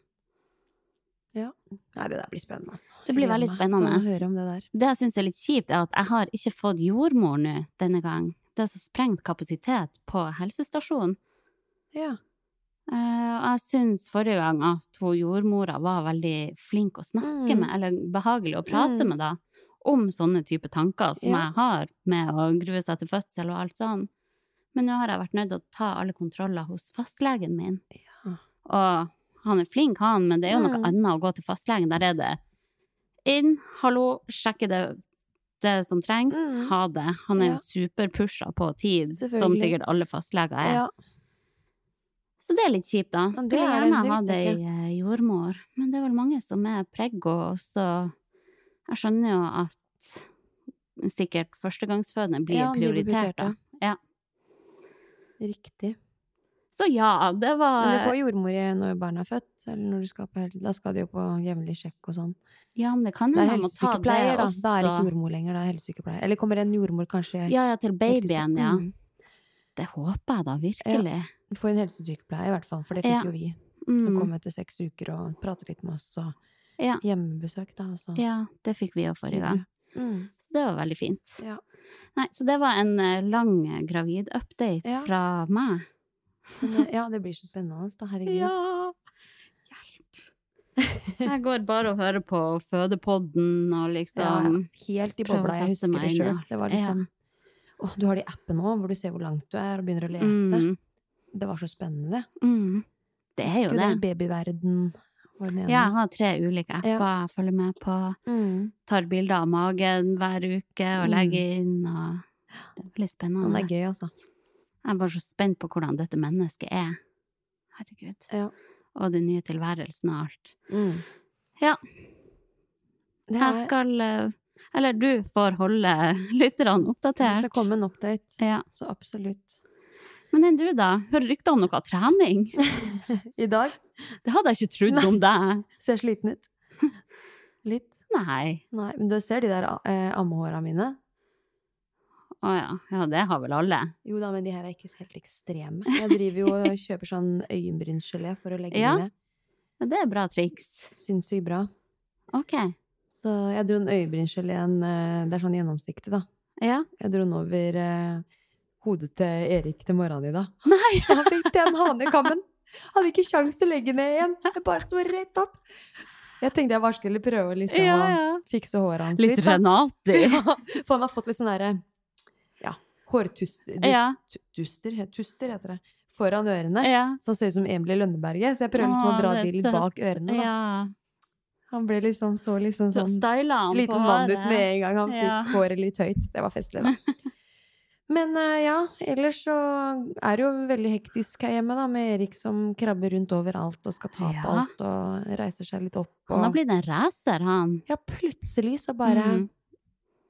Speaker 2: Nei, det der blir spennende, altså.
Speaker 3: Det blir
Speaker 2: Jeg gleder
Speaker 3: veldig
Speaker 2: meg
Speaker 3: spennende.
Speaker 2: til å høre om det der.
Speaker 3: Det jeg syns er litt kjipt, er at jeg har ikke fått jordmor nå denne gang. Det er så sprengt kapasitet på helsestasjonen.
Speaker 2: Ja.
Speaker 3: Eh, Og jeg syns forrige gang at hun jordmora var veldig flink å snakke
Speaker 2: Mm.
Speaker 3: med, eller behagelig å prate
Speaker 2: Mm.
Speaker 3: med, da, om sånne type tanker som
Speaker 2: Ja.
Speaker 3: jeg har med å grue seg til fødsel og alt sånn. Men nå har jeg vært nødt til å ta alle kontroller hos fastlegen min.
Speaker 2: Ja.
Speaker 3: Og han er flink, han, men det er jo noe
Speaker 2: Mm.
Speaker 3: annet å gå til fastlegen. Der er det inn, hallo, sjekke det, det som trengs,
Speaker 2: Mm.
Speaker 3: ha det. Han er
Speaker 2: Ja.
Speaker 3: jo superpusha på tid, som
Speaker 2: Selvfølgelig.
Speaker 3: sikkert alle fastleger er.
Speaker 2: ja.
Speaker 3: Så det er litt kjipt, da.
Speaker 2: Ja, det
Speaker 3: Skulle
Speaker 2: er det,
Speaker 3: gjerne
Speaker 2: det
Speaker 3: ha
Speaker 2: visste
Speaker 3: det
Speaker 2: jeg
Speaker 3: i eh, jordmor, men det er vel mange som er preggo, og så Jeg skjønner jo at sikkert førstegangsfødende blir
Speaker 2: Ja, de blir
Speaker 3: prioritert, da.
Speaker 2: prioritert, Riktig.
Speaker 3: Så ja, det
Speaker 2: Men du
Speaker 3: var
Speaker 2: får jordmor i- når barna er født, eller når du skal på hel... Da skal de jo på jevnlig sjekk og sånn.
Speaker 3: Ja, men det kan
Speaker 2: Det er
Speaker 3: hende jeg må ta det
Speaker 2: helsesykepleier, da.
Speaker 3: også.
Speaker 2: Da er det ikke jordmor lenger, det er helsesykepleier. Eller kommer en jordmor kanskje
Speaker 3: Ja, ja, til
Speaker 2: riktig sted?
Speaker 3: babyen, ja.
Speaker 2: Mm.
Speaker 3: Det håper jeg da virkelig.
Speaker 2: Du får en helsesykepleier i hvert fall, for det fikk
Speaker 3: Ja.
Speaker 2: jo vi. Som
Speaker 3: Mm.
Speaker 2: kom etter seks uker og pratet litt med oss, og
Speaker 3: Ja.
Speaker 2: hjemmebesøk, da. og så
Speaker 3: ja, det fikk vi jo forrige gang.
Speaker 2: videre. Mm.
Speaker 3: Så det var veldig fint.
Speaker 2: Ja.
Speaker 3: Nei, så det var en eh, lang eh, gravid-update
Speaker 2: Ja.
Speaker 3: fra meg.
Speaker 2: Men, eh, ja, det blir så spennende, da. Herregud.
Speaker 3: Ja! Hjelp! Jeg går bare og hører på Fødepodden og liksom
Speaker 2: Ja, ja. Helt i
Speaker 3: prøve å
Speaker 2: bobla. Jeg
Speaker 3: sette
Speaker 2: husker
Speaker 3: meg
Speaker 2: det
Speaker 3: inn i
Speaker 2: sjøl.
Speaker 3: alt.
Speaker 2: Det var liksom Åh, du har de appene òg, hvor du ser hvor langt du er, og begynner å lese.
Speaker 3: Mm,
Speaker 2: Det var så spennende.
Speaker 3: mm. Det er
Speaker 2: Husker
Speaker 3: jo
Speaker 2: du
Speaker 3: det.
Speaker 2: den Babyverden var den ene.
Speaker 3: Ja, jeg har tre ulike apper
Speaker 2: Ja.
Speaker 3: jeg følger med på.
Speaker 2: Mm.
Speaker 3: Tar bilder av magen hver uke og
Speaker 2: Mm.
Speaker 3: legger inn. Og det er veldig
Speaker 2: Den
Speaker 3: spennende.
Speaker 2: er gøy, altså.
Speaker 3: Jeg er bare så spent på hvordan dette mennesket er. Herregud.
Speaker 2: Ja.
Speaker 3: Og den nye tilværelsen og alt. Ja.
Speaker 2: Det er,
Speaker 3: Jeg mm. skal eh, Eller du får holde lytterne
Speaker 2: det
Speaker 3: oppdatert.
Speaker 2: skal komme en update.
Speaker 3: Ja.
Speaker 2: Så absolutt.
Speaker 3: Men enn du, da? Hører rykter om noe trening?
Speaker 2: I dag
Speaker 3: Det hadde jeg ikke trodd om deg.
Speaker 2: ser jeg sliten ut. Litt.
Speaker 3: Nei.
Speaker 2: Nei, men du ser de der eh, ammehåra mine?
Speaker 3: Å ja. Ja, det har vel alle.
Speaker 2: Jo da, men de her er ikke helt ekstreme. Jeg driver jo og kjøper sånn øyenbrynsgelé for å legge
Speaker 3: Ja.
Speaker 2: ja. ned.
Speaker 3: Men det er bra triks.
Speaker 2: Sinnssykt bra.
Speaker 3: OK.
Speaker 2: Så jeg dro den øyenbrynsgeléen eh, Det er sånn gjennomsiktig, da.
Speaker 3: Ja.
Speaker 2: Jeg dro den over eh, hodet til Erik til morgenen i dag. Nei! Så han fikk den hanekammen. Hadde ikke kjangs til å legge ned igjen. Jeg bare sto rett opp. Jeg tenkte jeg bare skulle prøve å liksom,
Speaker 3: Ja, ja.
Speaker 2: å fikse håret hans
Speaker 3: Litt
Speaker 2: da.
Speaker 3: Renati.
Speaker 2: Ja, for han har fått litt sånn derre Hårtuster
Speaker 3: Ja.
Speaker 2: dust, tuster, he- tuster heter det. Foran ørene.
Speaker 3: Ja.
Speaker 2: Så han ser ut som Emil i Lønneberget. Så jeg prøver liksom å
Speaker 3: Å,
Speaker 2: dra
Speaker 3: det er
Speaker 2: de litt
Speaker 3: søtt.
Speaker 2: bak ørene. Da.
Speaker 3: Ja.
Speaker 2: Han ble liksom så liksom
Speaker 3: Så
Speaker 2: sånn
Speaker 3: styla han på
Speaker 2: liten mann ut med en gang han fikk
Speaker 3: Ja.
Speaker 2: håret litt høyt. Det var festlig, da. Men eh, ja, ellers så er det jo veldig hektisk her hjemme, da, med Erik som krabber rundt overalt og skal ta på
Speaker 3: Ja.
Speaker 2: alt og reiser seg litt opp. Og...
Speaker 3: Han har blitt en racer, han.
Speaker 2: Ja, plutselig så bare
Speaker 3: Mhm.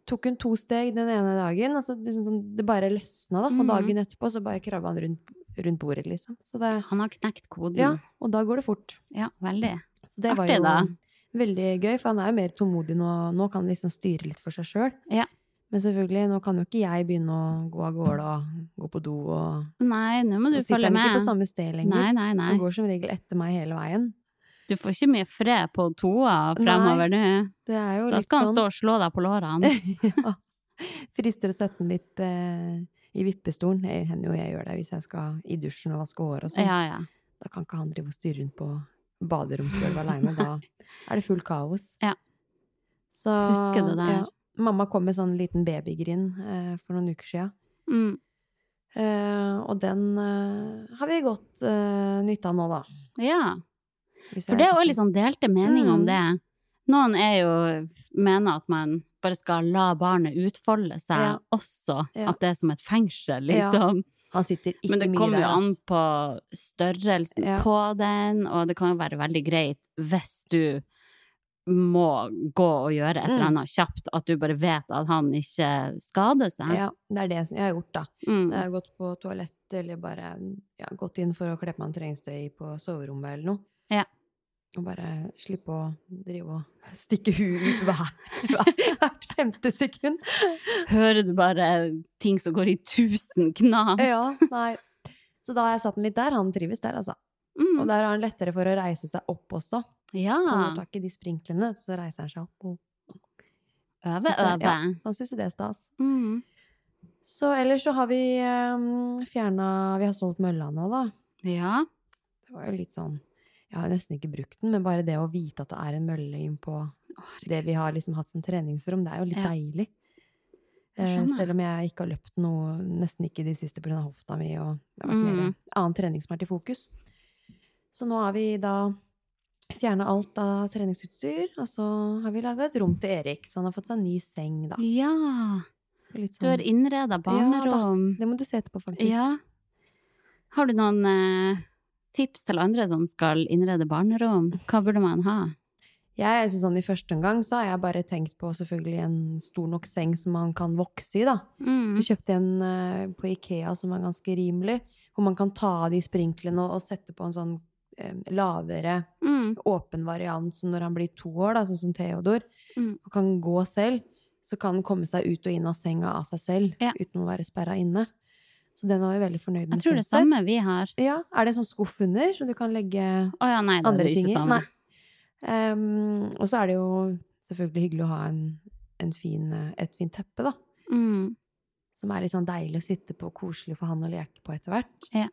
Speaker 2: tok hun to steg den ene dagen, og så liksom sånn, det bare løsna, da.
Speaker 3: Mhm.
Speaker 2: Og dagen etterpå så bare krabba han rundt, rundt bordet, liksom. Så det
Speaker 3: Han har knekt koden.
Speaker 2: Ja, og da går det fort.
Speaker 3: Ja, veldig.
Speaker 2: Så det
Speaker 3: Artig, da.
Speaker 2: var jo veldig gøy, for han er jo mer tålmodig nå. Nå kan han liksom styre litt for seg sjøl.
Speaker 3: Ja.
Speaker 2: Men selvfølgelig, nå kan jo ikke jeg begynne å gå av gårde og gå på do og
Speaker 3: Nei, nå må du
Speaker 2: Nå sitter
Speaker 3: følge
Speaker 2: han ikke på
Speaker 3: med.
Speaker 2: samme sted lenger.
Speaker 3: Nei, nei, nei.
Speaker 2: Han går som regel etter meg hele veien.
Speaker 3: Du får ikke mye fred på toa fremover nå.
Speaker 2: Det er jo
Speaker 3: Da
Speaker 2: litt
Speaker 3: skal han
Speaker 2: sånn
Speaker 3: stå og slå deg på lårene.
Speaker 2: ja. Frister å sette den litt eh, i vippestolen. Det hender jo jeg gjør det hvis jeg skal i dusjen og vaske hår og sånn.
Speaker 3: Ja, ja.
Speaker 2: Da kan ikke han drive og styre rundt på baderomsgulvet aleine. Da er det full kaos.
Speaker 3: Ja.
Speaker 2: Så,
Speaker 3: Husker det der.
Speaker 2: Mamma kom med sånn liten babygrin eh, for noen uker sia.
Speaker 3: Mm.
Speaker 2: Eh, og den eh, har vi godt eh, nytte av nå, da.
Speaker 3: ja.
Speaker 2: Hvis
Speaker 3: For
Speaker 2: jeg
Speaker 3: det er
Speaker 2: er
Speaker 3: også
Speaker 2: sånn-
Speaker 3: liksom delte meninger om
Speaker 2: Mm.
Speaker 3: det. Noen er jo, mener at man bare skal la barnet utfolde seg
Speaker 2: Ja.
Speaker 3: også.
Speaker 2: Ja.
Speaker 3: At det er som et fengsel,
Speaker 2: Ja.
Speaker 3: liksom.
Speaker 2: Han sitter ikke mye der.
Speaker 3: Men det kommer jo
Speaker 2: ass.
Speaker 3: an på størrelsen
Speaker 2: Ja.
Speaker 3: på den, og det kan jo være veldig greit hvis du må gå og gjøre et eller
Speaker 2: Mm.
Speaker 3: annet kjapt, at du bare vet at han ikke skader seg.
Speaker 2: Ja, det er det jeg har gjort, da.
Speaker 3: Mm.
Speaker 2: Jeg har gått på toalett eller bare ja, gått inn for å kle på meg en treningstøy på soverommet eller noe.
Speaker 3: Ja.
Speaker 2: Og bare slippe å drive og stikke huet ut hver, hver, hvert femte sekund.
Speaker 3: Hører du bare ting som går i tusen knas?
Speaker 2: Ja, nei. Så da har jeg satt den litt der. Han trives der, altså. Og
Speaker 3: Mm.
Speaker 2: der har han lettere for å reise seg opp også.
Speaker 3: ja.
Speaker 2: Han har tak i de sprinklene, så reiser han seg opp. Og
Speaker 3: Øve,
Speaker 2: Synes det-
Speaker 3: øve.
Speaker 2: ja, så han syns jo det er stas.
Speaker 3: Mm.
Speaker 2: Så ellers så har vi um, fjerna Vi har solgt mølla nå, da.
Speaker 3: Ja.
Speaker 2: Det var jo litt sånn Jeg har jo nesten ikke brukt den, men bare det å vite at det er en mølle innpå det vi har liksom hatt som treningsrom, det er jo litt
Speaker 3: Ja.
Speaker 2: deilig.
Speaker 3: Jeg
Speaker 2: Eh,
Speaker 3: skjønner.
Speaker 2: Selv om jeg ikke har løpt noe, nesten ikke i det siste pga. hofta mi, og det har vært mer
Speaker 3: Mm.
Speaker 2: annen trening som er til fokus. Så nå har vi da fjerna alt av treningsutstyr, og så har vi laga et rom til Erik, så han har fått seg en ny seng, da.
Speaker 3: Ja.
Speaker 2: Litt
Speaker 3: Du har
Speaker 2: sånn.
Speaker 3: innreda barnerom.
Speaker 2: Det må du se etterpå, faktisk.
Speaker 3: Ja. Har du noen eh, tips til andre som skal innrede barnerom? Hva burde man ha?
Speaker 2: Jeg synes sånn I første omgang så har jeg bare tenkt på selvfølgelig en stor nok seng som man kan vokse i. da.
Speaker 3: Mm.
Speaker 2: Så kjøpte jeg en eh, på Ikea som er ganske rimelig, hvor man kan ta av de sprinklene og, og sette på en sånn eh, lavere,
Speaker 3: Mm.
Speaker 2: åpen variant. Så når han blir to år, da, sånn som Theodor,
Speaker 3: Mm.
Speaker 2: og kan gå selv, så kan han komme seg ut og inn av senga av seg selv
Speaker 3: Ja.
Speaker 2: uten å være sperra inne. Så den var vi veldig fornøyd med.
Speaker 3: Jeg tror det
Speaker 2: sånn sett.
Speaker 3: samme vi har.
Speaker 2: Ja, Er det en sånn skuff under, så du kan legge
Speaker 3: Å ja, nei, det er
Speaker 2: andre
Speaker 3: det
Speaker 2: ting
Speaker 3: ikke
Speaker 2: i.
Speaker 3: samme.
Speaker 2: Nei. Ehm, og så er det jo selvfølgelig hyggelig å ha en, en fin, eh, et fint teppe, da.
Speaker 3: Mm.
Speaker 2: Som er litt sånn deilig å sitte på, og koselig for han å leke på etter hvert.
Speaker 3: Ja.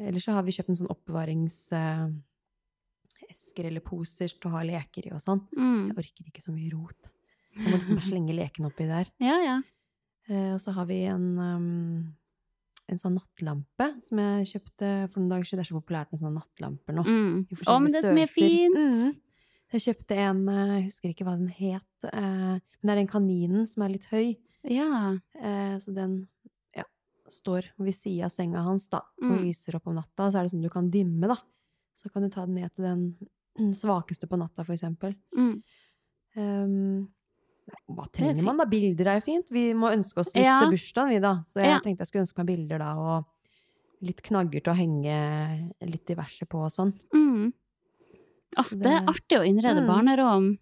Speaker 2: Eller så har vi kjøpt en sånn oppbevaringsesker eller poser til å ha leker i og sånn.
Speaker 3: Mm.
Speaker 2: Jeg orker ikke så mye rot. Jeg må liksom bare slenge lekene oppi der.
Speaker 3: Ja, ja.
Speaker 2: Eh, og så har vi en, ehm, en sånn nattlampe som jeg kjøpte for noen dager siden. Det er så populært med sånne nattlamper nå.
Speaker 3: Mm.
Speaker 2: i
Speaker 3: Å, men
Speaker 2: forskjellige
Speaker 3: det som er
Speaker 2: størrelser.
Speaker 3: fint!
Speaker 2: Mm. Jeg kjøpte en, eh, jeg husker ikke hva den het, eh, men det er den kaninen som er litt høy.
Speaker 3: Ja.
Speaker 2: eh, Så den ja, står ved sida av senga hans da, og
Speaker 3: Mm.
Speaker 2: lyser opp om natta. Og så er det sånn du kan dimme, da. Så kan du ta den ned til den mm, svakeste på natta, for eksempel.
Speaker 3: Mm.
Speaker 2: Um, nei, hva
Speaker 3: er
Speaker 2: trenger
Speaker 3: fint.
Speaker 2: man da? Bilder er jo fint. Vi må ønske oss litt
Speaker 3: Ja.
Speaker 2: til bursdagen, vi da. Så jeg
Speaker 3: Ja.
Speaker 2: tenkte jeg skulle ønske meg bilder da, og litt knagger til å henge litt diverse på og sånn.
Speaker 3: Mm. Åh,
Speaker 2: Så
Speaker 3: det er
Speaker 2: det-
Speaker 3: artig å innrede
Speaker 2: Mm.
Speaker 3: barnerom.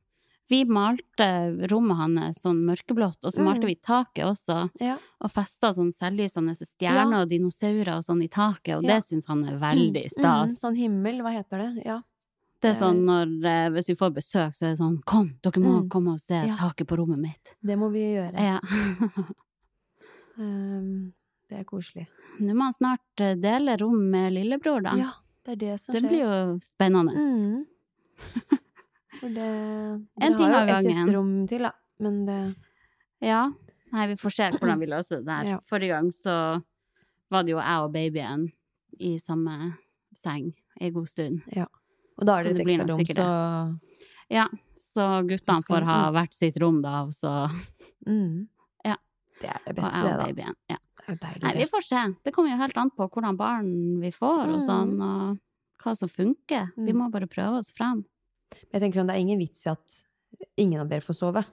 Speaker 3: Vi malte rommet hans sånn mørkeblått, og så malte
Speaker 2: Mm.
Speaker 3: vi taket også.
Speaker 2: Ja.
Speaker 3: Og festa sånn selvlysende stjerner
Speaker 2: Ja.
Speaker 3: og dinosaurer og sånn i taket, og
Speaker 2: Ja.
Speaker 3: det syns han er veldig
Speaker 2: Mm,
Speaker 3: stas.
Speaker 2: sånn himmel, hva heter det? Ja.
Speaker 3: Det
Speaker 2: Det-
Speaker 3: er sånn når, eh, hvis vi får besøk, så er det sånn Kom, dere må
Speaker 2: Mm.
Speaker 3: komme og se
Speaker 2: Ja.
Speaker 3: taket på rommet mitt.
Speaker 2: Det må vi gjøre.
Speaker 3: Ja.
Speaker 2: Um, det er koselig.
Speaker 3: Nå må han snart eh, dele rom med lillebror, da.
Speaker 2: Ja, det er det som
Speaker 3: det
Speaker 2: skjer.
Speaker 3: blir jo spennende.
Speaker 2: Mm. For det
Speaker 3: En ting av
Speaker 2: Dere har jo et
Speaker 3: gangen.
Speaker 2: gjesterom til, da. Men det
Speaker 3: Ja. Nei, vi får se hvordan vi løser det der.
Speaker 2: Ja.
Speaker 3: Forrige gang så var det jo jeg og babyen i samme seng en god stund.
Speaker 2: Og da er
Speaker 3: Så
Speaker 2: det
Speaker 3: det
Speaker 2: et
Speaker 3: blir
Speaker 2: ekstra
Speaker 3: nok
Speaker 2: rom,
Speaker 3: sikkert
Speaker 2: så
Speaker 3: Så guttene
Speaker 2: Skal-
Speaker 3: får ha hvert sitt rom da, og så
Speaker 2: mm.
Speaker 3: Ja.
Speaker 2: Det er det
Speaker 3: og
Speaker 2: beste,
Speaker 3: jeg og
Speaker 2: det, da.
Speaker 3: babyen. Ja.
Speaker 2: Det er jo deilig.
Speaker 3: Nei, vi
Speaker 2: det.
Speaker 3: får se. Det kommer jo helt an på hvordan barn vi får, og
Speaker 2: Mm.
Speaker 3: sånn, og hva som funker. Vi
Speaker 2: Mm.
Speaker 3: må bare prøve oss fram.
Speaker 2: Men Jeg tenker sånn, Det er ingen vits i at ingen av dere får sove.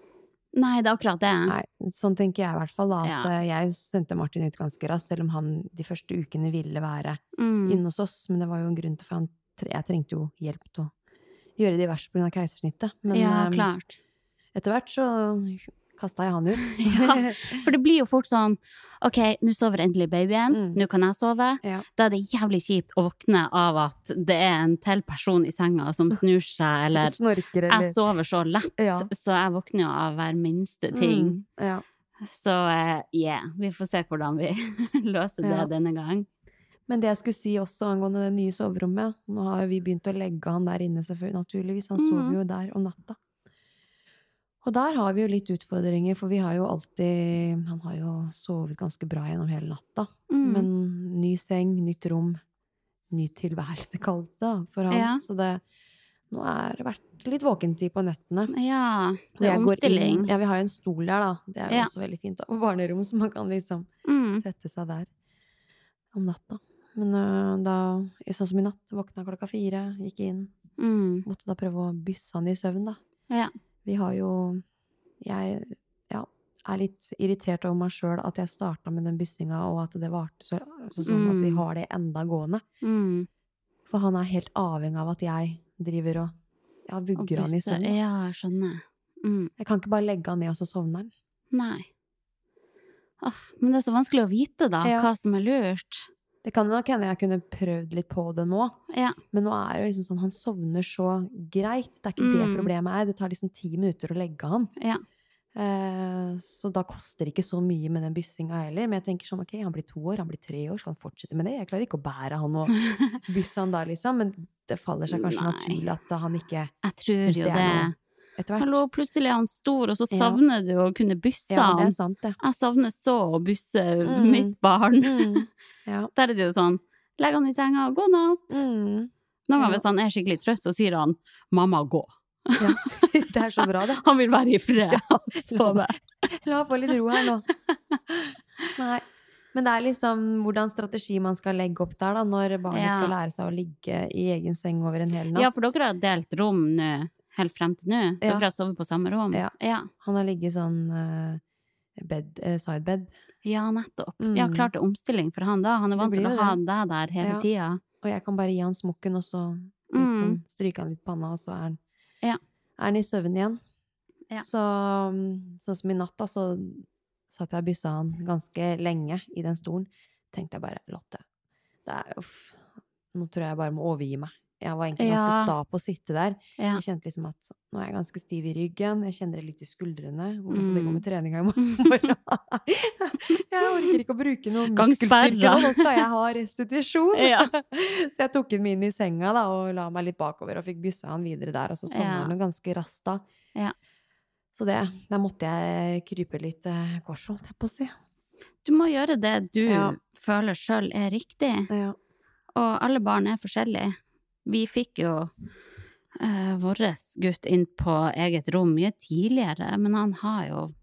Speaker 3: Nei, det er akkurat det.
Speaker 2: Nei, Sånn tenker jeg i hvert fall. da, At
Speaker 3: Ja.
Speaker 2: eh, Jeg sendte Martin ut ganske raskt, selv om han de første ukene ville være
Speaker 3: Mm.
Speaker 2: inne hos oss. Men det var jo en grunn til for han, tre- jeg trengte jo hjelp til å gjøre diverse pga. keisersnittet. Men
Speaker 3: ja,
Speaker 2: eh,
Speaker 3: klart.
Speaker 2: etter hvert så kasta jeg han ut.
Speaker 3: Ja. For det blir jo fort sånn OK, nå sover endelig babyen.
Speaker 2: Mm.
Speaker 3: Nå kan jeg sove.
Speaker 2: Ja.
Speaker 3: Da er det jævlig kjipt å våkne av at det er en til person i senga som snur seg, eller
Speaker 2: Snorker eller
Speaker 3: Jeg sover så lett,
Speaker 2: Ja.
Speaker 3: så jeg våkner jo av hver minste ting.
Speaker 2: Mm, ja.
Speaker 3: Så eh, yeah, vi får se hvordan vi løser det
Speaker 2: Ja.
Speaker 3: denne gang.
Speaker 2: Men det jeg skulle si også angående det nye soverommet Nå har jo vi begynt å legge han der inne, selvfølgelig. Naturligvis. Han sover
Speaker 3: Mhm.
Speaker 2: jo der om natta. Og der har vi jo litt utfordringer, for vi har jo alltid Han har jo sovet ganske bra gjennom hele natta.
Speaker 3: Mm.
Speaker 2: Men ny seng, nytt rom, ny tilværelse, kall det da, for han.
Speaker 3: Ja.
Speaker 2: Så det Nå har det vært litt våkentid på nettene.
Speaker 3: ja,
Speaker 2: Og
Speaker 3: det er
Speaker 2: jeg går inn-
Speaker 3: omstilling.
Speaker 2: Ja, vi har jo en stol der, da. Det er jo
Speaker 3: Ja.
Speaker 2: også veldig fint. da, På barnerom, så man kan liksom
Speaker 3: Mm.
Speaker 2: sette seg der om natta. Men øh, da, sånn som i natt, våkna klokka fire, gikk inn.
Speaker 3: Mm.
Speaker 2: Måtte da prøve å bysse han i søvn, da.
Speaker 3: Ja.
Speaker 2: Vi har jo Jeg ja, er litt irritert over meg sjøl at jeg starta med den byssinga, og at det varte så, så sånn at vi
Speaker 3: Mm.
Speaker 2: har det enda gående.
Speaker 3: Mm.
Speaker 2: For han er helt avhengig av at jeg driver og ja,
Speaker 3: Og
Speaker 2: vugger han i
Speaker 3: puste.
Speaker 2: søvn. da.
Speaker 3: Ja, jeg skjønner. Mm.
Speaker 2: Jeg kan ikke bare legge han ned, og så sovner han.
Speaker 3: Nei. Åh, men det er så vanskelig å vite, da,
Speaker 2: Ja.
Speaker 3: hva som er lurt.
Speaker 2: Det kan nok hende jeg kunne prøvd litt på det nå,
Speaker 3: Ja.
Speaker 2: men nå er det jo liksom sånn, han sovner så greit. Det er ikke det
Speaker 3: Mm.
Speaker 2: problemet er. Det tar liksom ti minutter å legge han.
Speaker 3: Ja.
Speaker 2: Eh, så da koster det ikke så mye med den byssinga heller. Men jeg tenker sånn, ok, han blir to år, han blir tre år, skal han fortsette med det? Jeg klarer ikke å bære han og
Speaker 3: Jeg
Speaker 2: bysse han da, liksom. Men det faller seg kanskje
Speaker 3: Nei.
Speaker 2: naturlig at han ikke
Speaker 3: tror
Speaker 2: Syns
Speaker 3: jo
Speaker 2: det er
Speaker 3: det.
Speaker 2: noe. etter hvert
Speaker 3: Hallo, plutselig er han stor, og så
Speaker 2: Ja.
Speaker 3: savner du å kunne busse
Speaker 2: Ja, det
Speaker 3: han.
Speaker 2: er sant, det.
Speaker 3: Jeg savner så å busse
Speaker 2: Mm.
Speaker 3: mitt barn.
Speaker 2: Mm. Ja.
Speaker 3: Der er det jo sånn, legg han i senga, god natt.
Speaker 2: Mm.
Speaker 3: Noen ganger
Speaker 2: Ja.
Speaker 3: hvis han er skikkelig trøtt, så sier han, mamma, gå.
Speaker 2: ja. Det er så bra, det.
Speaker 3: Han vil være i fred.
Speaker 2: la
Speaker 3: Sove.
Speaker 2: La få litt ro her nå. Nei. Men det er liksom hvordan strategi man skal legge opp der, da, når barnet
Speaker 3: Ja.
Speaker 2: skal lære seg å ligge i egen seng over en hel natt.
Speaker 3: Ja, for dere har delt rom nå, helt frem til nå. Dere
Speaker 2: Ja.
Speaker 3: har sovet på samme rom.
Speaker 2: Ja.
Speaker 3: ja.
Speaker 2: Han har ligget i sånn eh, bed, eh, sidebed.
Speaker 3: Ja, nettopp.
Speaker 2: Mm.
Speaker 3: Ja, klart det er omstilling for han da. Han er
Speaker 2: Det
Speaker 3: vant til
Speaker 2: blir
Speaker 3: å
Speaker 2: jo
Speaker 3: ha deg der hele
Speaker 2: Ja.
Speaker 3: tida.
Speaker 2: Og jeg kan bare gi han smokken, og så litt
Speaker 3: Mm.
Speaker 2: sånn, stryke han litt på panna, og så er han,
Speaker 3: Ja.
Speaker 2: er han i søvn igjen.
Speaker 3: Ja.
Speaker 2: Så, mm, sånn som i natt, da, så satt jeg og byssa han ganske lenge i den stolen. Tenkte jeg bare, Lotte, det er uff. Nå tror jeg jeg bare må overgi meg. Jeg var egentlig ganske
Speaker 3: Ja.
Speaker 2: sta på å sitte der.
Speaker 3: Ja.
Speaker 2: Jeg kjente liksom at nå er jeg ganske stiv i ryggen, jeg kjenner det litt i skuldrene. Hvordan skal det gå
Speaker 3: Mm.
Speaker 2: med treninga i morgen? jeg orker ikke å bruke noe
Speaker 3: Gangsperre.
Speaker 2: muskelstyrke nå, nå skal jeg ha restitusjon.
Speaker 3: Ja.
Speaker 2: så jeg tok ham inn i senga da, og la meg litt bakover og fikk byssa han videre der, og så sovna
Speaker 3: Ja.
Speaker 2: han jo ganske raskt da.
Speaker 3: Ja.
Speaker 2: Så det, der måtte jeg krype litt eh, kors, holdt jeg på å si.
Speaker 3: Du må gjøre det du
Speaker 2: Ja.
Speaker 3: føler sjøl er riktig.
Speaker 2: Ja.
Speaker 3: Og alle barn er forskjellige. Vi fikk jo uh, vår gutt inn på eget rom mye tidligere, men han har jo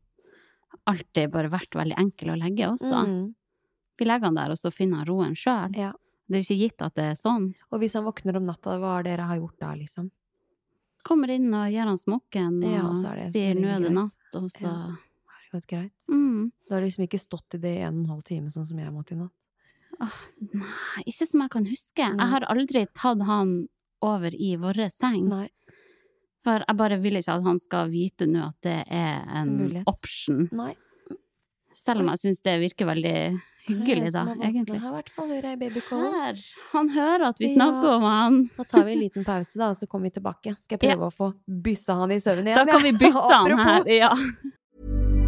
Speaker 3: alltid bare vært veldig enkel å legge også.
Speaker 2: Mhm.
Speaker 3: Vi legger han der, og så finner han roen sjøl.
Speaker 2: Ja.
Speaker 3: Det er ikke gitt at det er sånn.
Speaker 2: Og hvis han våkner om natta, hva har dere har gjort da, liksom?
Speaker 3: Kommer inn og gir han smokken og
Speaker 2: Ja, så er det så
Speaker 3: sier
Speaker 2: mye
Speaker 3: 'nå er
Speaker 2: greit.
Speaker 3: det natt', og så
Speaker 2: Ja. Har det gått greit?
Speaker 3: mm.
Speaker 2: Du har liksom ikke stått i det i en og en halv time, sånn som jeg måtte i natt.
Speaker 3: Åh, nei, ikke som jeg kan huske.
Speaker 2: Nei.
Speaker 3: Jeg har aldri tatt han over i vår seng.
Speaker 2: Nei.
Speaker 3: For jeg bare vil ikke at han skal vite nå at det er en
Speaker 2: Mulighet.
Speaker 3: option.
Speaker 2: Nei.
Speaker 3: Selv om jeg syns det virker veldig hyggelig, da, egentlig.
Speaker 2: Her, i hvert fall hører jeg babycallen.
Speaker 3: Her! Han hører at vi
Speaker 2: Ja.
Speaker 3: snakker om han.
Speaker 2: Nå tar vi en liten pause, da, og så kommer vi tilbake. Skal jeg prøve å få byssa han i søvn igjen?
Speaker 3: Da kan vi bysse han
Speaker 2: Apropos.
Speaker 3: her. Ja.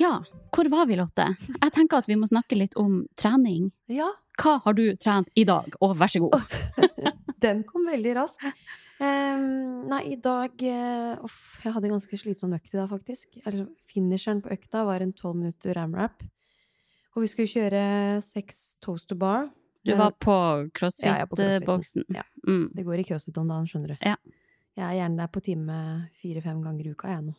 Speaker 3: Ja, hvor var vi, Lotte? Jeg tenker at vi må snakke litt om trening.
Speaker 2: Ja,
Speaker 3: Hva har du trent i dag? Og vær så god.
Speaker 2: den kom veldig raskt. Ehm, nei, i dag eh, Uff, jeg hadde en ganske slitsom økt i dag, faktisk. Eller finisheren på økta var en 12 minutter ramrap. Og vi skulle kjøre seks toast to bar.
Speaker 3: Du
Speaker 2: Men-
Speaker 3: var på
Speaker 2: eh, Ja, jeg er på crossfiten.
Speaker 3: crossfit-boksen.
Speaker 2: Ja.
Speaker 3: Mm.
Speaker 2: Det går i crossfit om dagen, skjønner du.
Speaker 3: Ja.
Speaker 2: Jeg er gjerne der på time fire-fem ganger i uka, jeg nå.